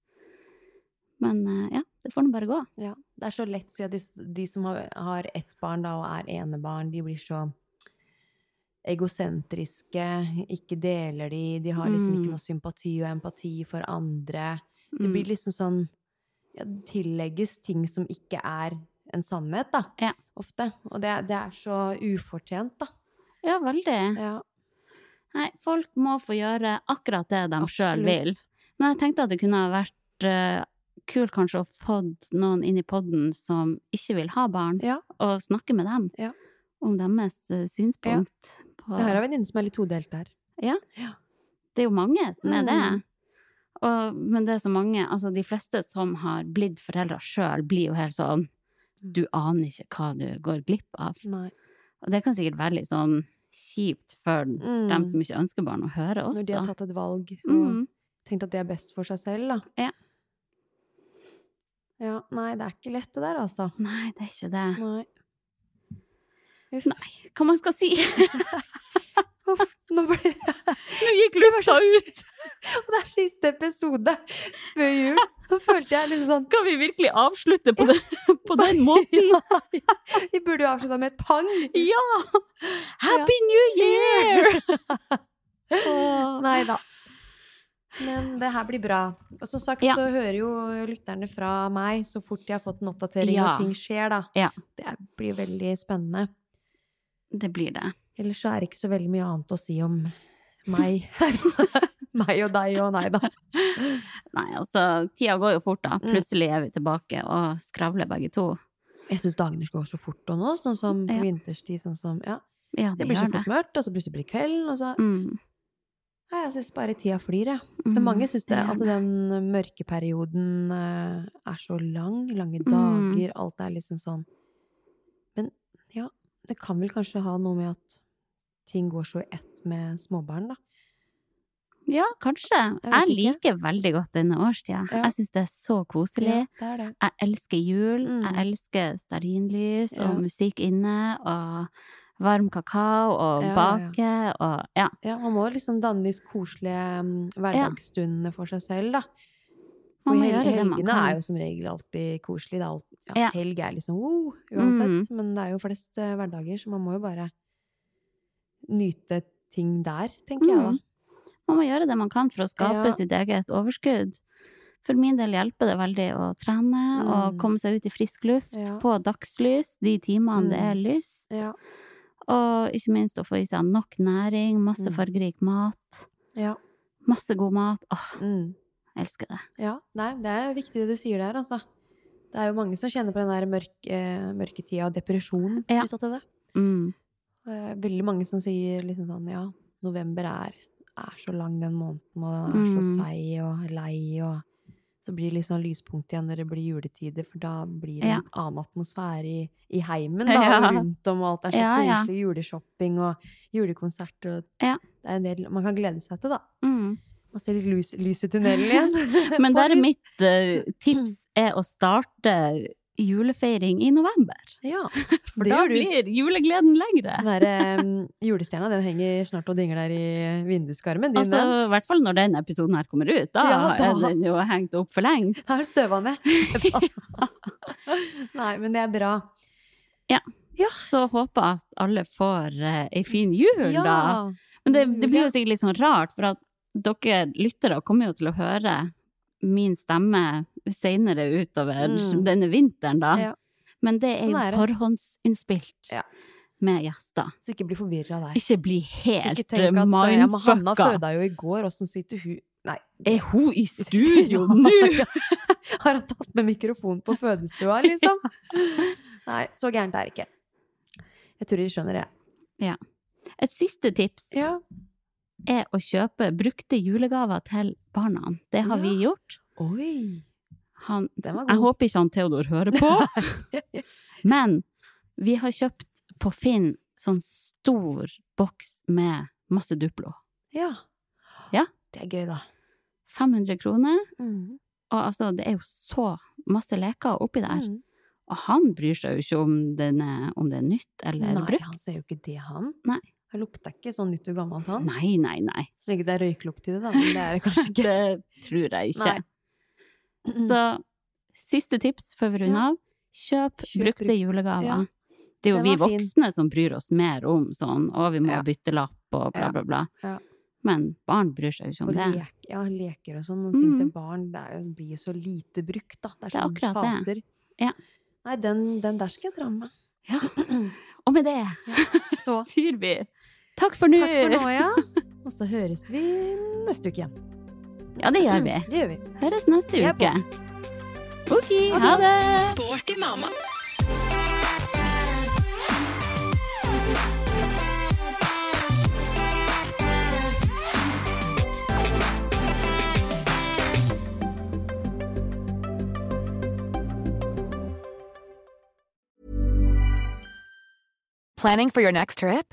Speaker 3: Men eh, ja, det får nå bare gå.
Speaker 2: Ja. Det er så lett, siden de, de som har, har ett barn da, og er enebarn, de blir så egosentriske, ikke deler de, de har liksom
Speaker 3: Mm.
Speaker 2: ikke noe sympati og empati for andre. Det
Speaker 3: Mm.
Speaker 2: blir liksom sånn ja, det Tillegges ting som ikke er en sannhet, da.
Speaker 3: Ja.
Speaker 2: Ofte. Og det, det er så ufortjent, da.
Speaker 3: Ja, veldig.
Speaker 2: Ja.
Speaker 3: Nei, folk må få gjøre akkurat det de sjøl
Speaker 2: Absolutt.
Speaker 3: vil. Men jeg tenkte at det kunne ha vært eh, kult kanskje å få noen inn i poden som ikke vil ha barn,
Speaker 2: Ja.
Speaker 3: og snakke med dem
Speaker 2: Ja.
Speaker 3: om deres eh, synspunkt. På...
Speaker 2: Jeg har en venninne som er litt todelt der.
Speaker 3: Det er jo mange som er det.
Speaker 2: Mm.
Speaker 3: Og, men det er så mange, altså de fleste som har blitt foreldre sjøl, blir jo helt sånn Du aner ikke hva du går glipp av.
Speaker 2: Nei.
Speaker 3: Og det kan sikkert være litt sånn kjipt for
Speaker 2: Mm.
Speaker 3: dem som ikke ønsker barn, å høre også.
Speaker 2: Når de har tatt et valg og
Speaker 3: mm.
Speaker 2: tenkt at det er best for seg selv, da.
Speaker 3: Ja.
Speaker 2: Ja, nei, det er ikke lett det der, altså.
Speaker 3: Nei, det er ikke det.
Speaker 2: Nei. Uff.
Speaker 3: Nei, hva man skal si?
Speaker 2: Uff, nå ble det
Speaker 3: Nå gikk lufta ut!
Speaker 2: Det er siste episode før jul. Nå følte jeg litt sånn
Speaker 3: Skal vi virkelig avslutte på, det, på den måten?
Speaker 2: Nei. Vi burde jo avslutta med et pang.
Speaker 3: Ja! Happy New Year! Åh.
Speaker 2: Nei da. Men det her blir bra. Og som sagt
Speaker 3: Ja.
Speaker 2: så hører jo lytterne fra meg så fort de har fått en oppdatering
Speaker 3: Ja.
Speaker 2: og ting skjer, da.
Speaker 3: Ja.
Speaker 2: Det er- blir veldig spennende.
Speaker 3: Det blir det.
Speaker 2: Ellers så er det ikke så veldig mye annet å si om meg. meg og deg og nei da.
Speaker 3: Nei, altså, tida går jo fort, da.
Speaker 2: Mm.
Speaker 3: Plutselig er vi tilbake og skravler begge to.
Speaker 2: Jeg syns dagene går så fort og nå, sånn som på
Speaker 3: Ja.
Speaker 2: vinterstid. Sånn som, ja,
Speaker 3: Ja,
Speaker 2: det
Speaker 3: det
Speaker 2: blir så
Speaker 3: gjør det.
Speaker 2: fort mørkt, og så plutselig blir det kveld. Og så,
Speaker 3: Mm.
Speaker 2: ja, jeg syns bare tida flyr, jeg.
Speaker 3: Mm,
Speaker 2: Men mange syns det,
Speaker 3: det gjør
Speaker 2: at
Speaker 3: det.
Speaker 2: den mørkeperioden eh, er så lang. Lange
Speaker 3: Mm.
Speaker 2: dager, alt er liksom sånn. Men ja, det kan vel kanskje ha noe med at ting går så i ett med småbarn, da.
Speaker 3: Ja, kanskje.
Speaker 2: Jeg
Speaker 3: Jeg,
Speaker 2: vet ikke.
Speaker 3: liker veldig godt denne årstida.
Speaker 2: Ja.
Speaker 3: Jeg syns det er så
Speaker 2: Ja,
Speaker 3: koselig.
Speaker 2: det er det.
Speaker 3: Jeg elsker jul.
Speaker 2: Mm.
Speaker 3: Jeg elsker stearinlys
Speaker 2: Ja.
Speaker 3: og musikk inne og varm kakao og
Speaker 2: Ja, ja,
Speaker 3: bake og Ja.
Speaker 2: Ja, man må liksom danne disse koselige mm, hverdagsstundene for seg selv, da. For
Speaker 3: Man må
Speaker 2: hel-
Speaker 3: gjøre det man
Speaker 2: helgene er
Speaker 3: kan.
Speaker 2: jo som regel alltid koselig. Det er alt, ja,
Speaker 3: Ja. Mm.
Speaker 2: Helg er liksom wow, uansett. Men det er jo flest eh, hverdager, så man må jo bare nyte ting der, tenker jeg da.
Speaker 3: Mm. Man må gjøre det man kan for å skape
Speaker 2: Ja.
Speaker 3: sitt eget overskudd. For min del hjelper det veldig å trene
Speaker 2: Mm.
Speaker 3: og komme seg ut i frisk luft,
Speaker 2: Ja. Mm.
Speaker 3: få dagslys de timene det er lyst,
Speaker 2: Ja.
Speaker 3: og ikke minst å få i seg nok næring, masse
Speaker 2: Mm.
Speaker 3: fargerik mat,
Speaker 2: Ja.
Speaker 3: masse god mat. Åh,
Speaker 2: Mm.
Speaker 3: jeg elsker det.
Speaker 2: ja. Nei, det er viktig det du sier der, altså. Det er jo mange som kjenner på den der mørke, eh, mørketida og depresjon
Speaker 3: Ja.
Speaker 2: knytta til det.
Speaker 3: Mm.
Speaker 2: Eh, Veldig mange som sier liksom sånn ja, november er, er så lang den måneden, og den er så
Speaker 3: Mm.
Speaker 2: seig og lei, og så blir det liksom lyspunkt igjen når det blir juletider, for da blir det
Speaker 3: Ja.
Speaker 2: en annen atmosfære i, i heimen, da, og
Speaker 3: Ja.
Speaker 2: rundt om, og alt er så
Speaker 3: Ja, ja.
Speaker 2: koselig, juleshopping og julekonserter, og
Speaker 3: Ja.
Speaker 2: det er en del man kan glede seg til, da.
Speaker 3: Mm.
Speaker 2: Man ser litt lys, lys i tunnelen igjen.
Speaker 3: Men
Speaker 2: På
Speaker 3: der
Speaker 2: et vis.
Speaker 3: er mitt eh, tips
Speaker 2: Mm.
Speaker 3: er å starte julefeiring i november.
Speaker 2: Ja,
Speaker 3: For
Speaker 2: det
Speaker 3: da
Speaker 2: gjør du.
Speaker 3: blir julegleden
Speaker 2: Den
Speaker 3: lengre.
Speaker 2: der um, julestjerna, den henger snart og dingler der i vinduskarmen. Din,
Speaker 3: Altså,
Speaker 2: den.
Speaker 3: I hvert fall når den episoden her kommer ut. Da,
Speaker 2: Ja, da.
Speaker 3: er den jo hengt opp for lengst.
Speaker 2: Her støva ned. Nei, men det er bra.
Speaker 3: Så håper jeg at alle får eh, ei fin jul, da. Men det, det blir jo sikkert litt sånn rart, for at dere lyttere kommer jo til å høre min stemme senere utover
Speaker 2: Mm.
Speaker 3: denne vinteren, da.
Speaker 2: Ja.
Speaker 3: Men det er
Speaker 2: Sånn
Speaker 3: jo
Speaker 2: er det.
Speaker 3: forhåndsinnspilt
Speaker 2: Ja.
Speaker 3: med gjester.
Speaker 2: Så ikke bli forvirra der.
Speaker 3: Ikke bli helt
Speaker 2: Ikke tenk at eh, ja, men Hanna
Speaker 3: mindfucka.
Speaker 2: føda jo i går, åssen sitter hun Nei.
Speaker 3: Er hun i studio
Speaker 2: Ja.
Speaker 3: nå?!
Speaker 2: Har hun tatt med mikrofon på fødestua, liksom? Nei, så gærent er det ikke. Jeg tror de skjønner det.
Speaker 3: Et siste tips
Speaker 2: Ja.
Speaker 3: er å kjøpe brukte julegaver til barna. Det har vi gjort.
Speaker 2: Oi!
Speaker 3: Han,
Speaker 2: Den var
Speaker 3: jeg
Speaker 2: god.
Speaker 3: håper ikke han Theodor hører på, men vi har kjøpt på Finn sånn stor boks med masse Duplo.
Speaker 2: Ja.
Speaker 3: Ja.
Speaker 2: Det er gøy, da.
Speaker 3: 500 kroner,
Speaker 2: Mm.
Speaker 3: og altså, det er jo så masse leker oppi der.
Speaker 2: Mm.
Speaker 3: Og han bryr seg jo ikke om, den er, om det er nytt eller
Speaker 2: Nei,
Speaker 3: brukt.
Speaker 2: han ser jo ikke det, han.
Speaker 3: Nei.
Speaker 2: Han lukter ikke sånn nytt og gammelt, han.
Speaker 3: Nei, nei, nei.
Speaker 2: Så lenge det er røyklukt i det, da. Men det er det kanskje ikke.
Speaker 3: Det Mm. tror jeg ikke.
Speaker 2: Nei.
Speaker 3: Så siste tips før vi runder
Speaker 2: Ja.
Speaker 3: av. Kjøp,
Speaker 2: Kjøp
Speaker 3: brukte
Speaker 2: brukt.
Speaker 3: julegaver.
Speaker 2: Ja.
Speaker 3: Det er jo
Speaker 2: Den
Speaker 3: vi
Speaker 2: var fin.
Speaker 3: voksne som bryr oss mer om sånn, og vi må
Speaker 2: Ja.
Speaker 3: bytte lapp og bla,
Speaker 2: Ja.
Speaker 3: bla, bla.
Speaker 2: Ja.
Speaker 3: Men barn bryr seg jo ikke om
Speaker 2: Og
Speaker 3: det.
Speaker 2: lek, ja, leker og sånn. Og ting til
Speaker 3: Mhm.
Speaker 2: barn det er, jo- blir jo så lite brukt, da. Det er,
Speaker 3: Det er
Speaker 2: sånn
Speaker 3: akkurat det.
Speaker 2: faser.
Speaker 3: Ja.
Speaker 2: Nei, den, den der skal jeg dra med meg.
Speaker 3: Ja. Og med det
Speaker 2: Så
Speaker 3: sier vi takk for nå!
Speaker 2: takk for nå, ja. Og så høres vi neste uke igjen. Mm.
Speaker 3: Ja, det gjør vi.
Speaker 2: Det gjør vi.
Speaker 3: Høres neste
Speaker 2: Jeg er
Speaker 3: uke. Ok, ha det!
Speaker 4: Sporty mamma.
Speaker 5: Planning for your next trip?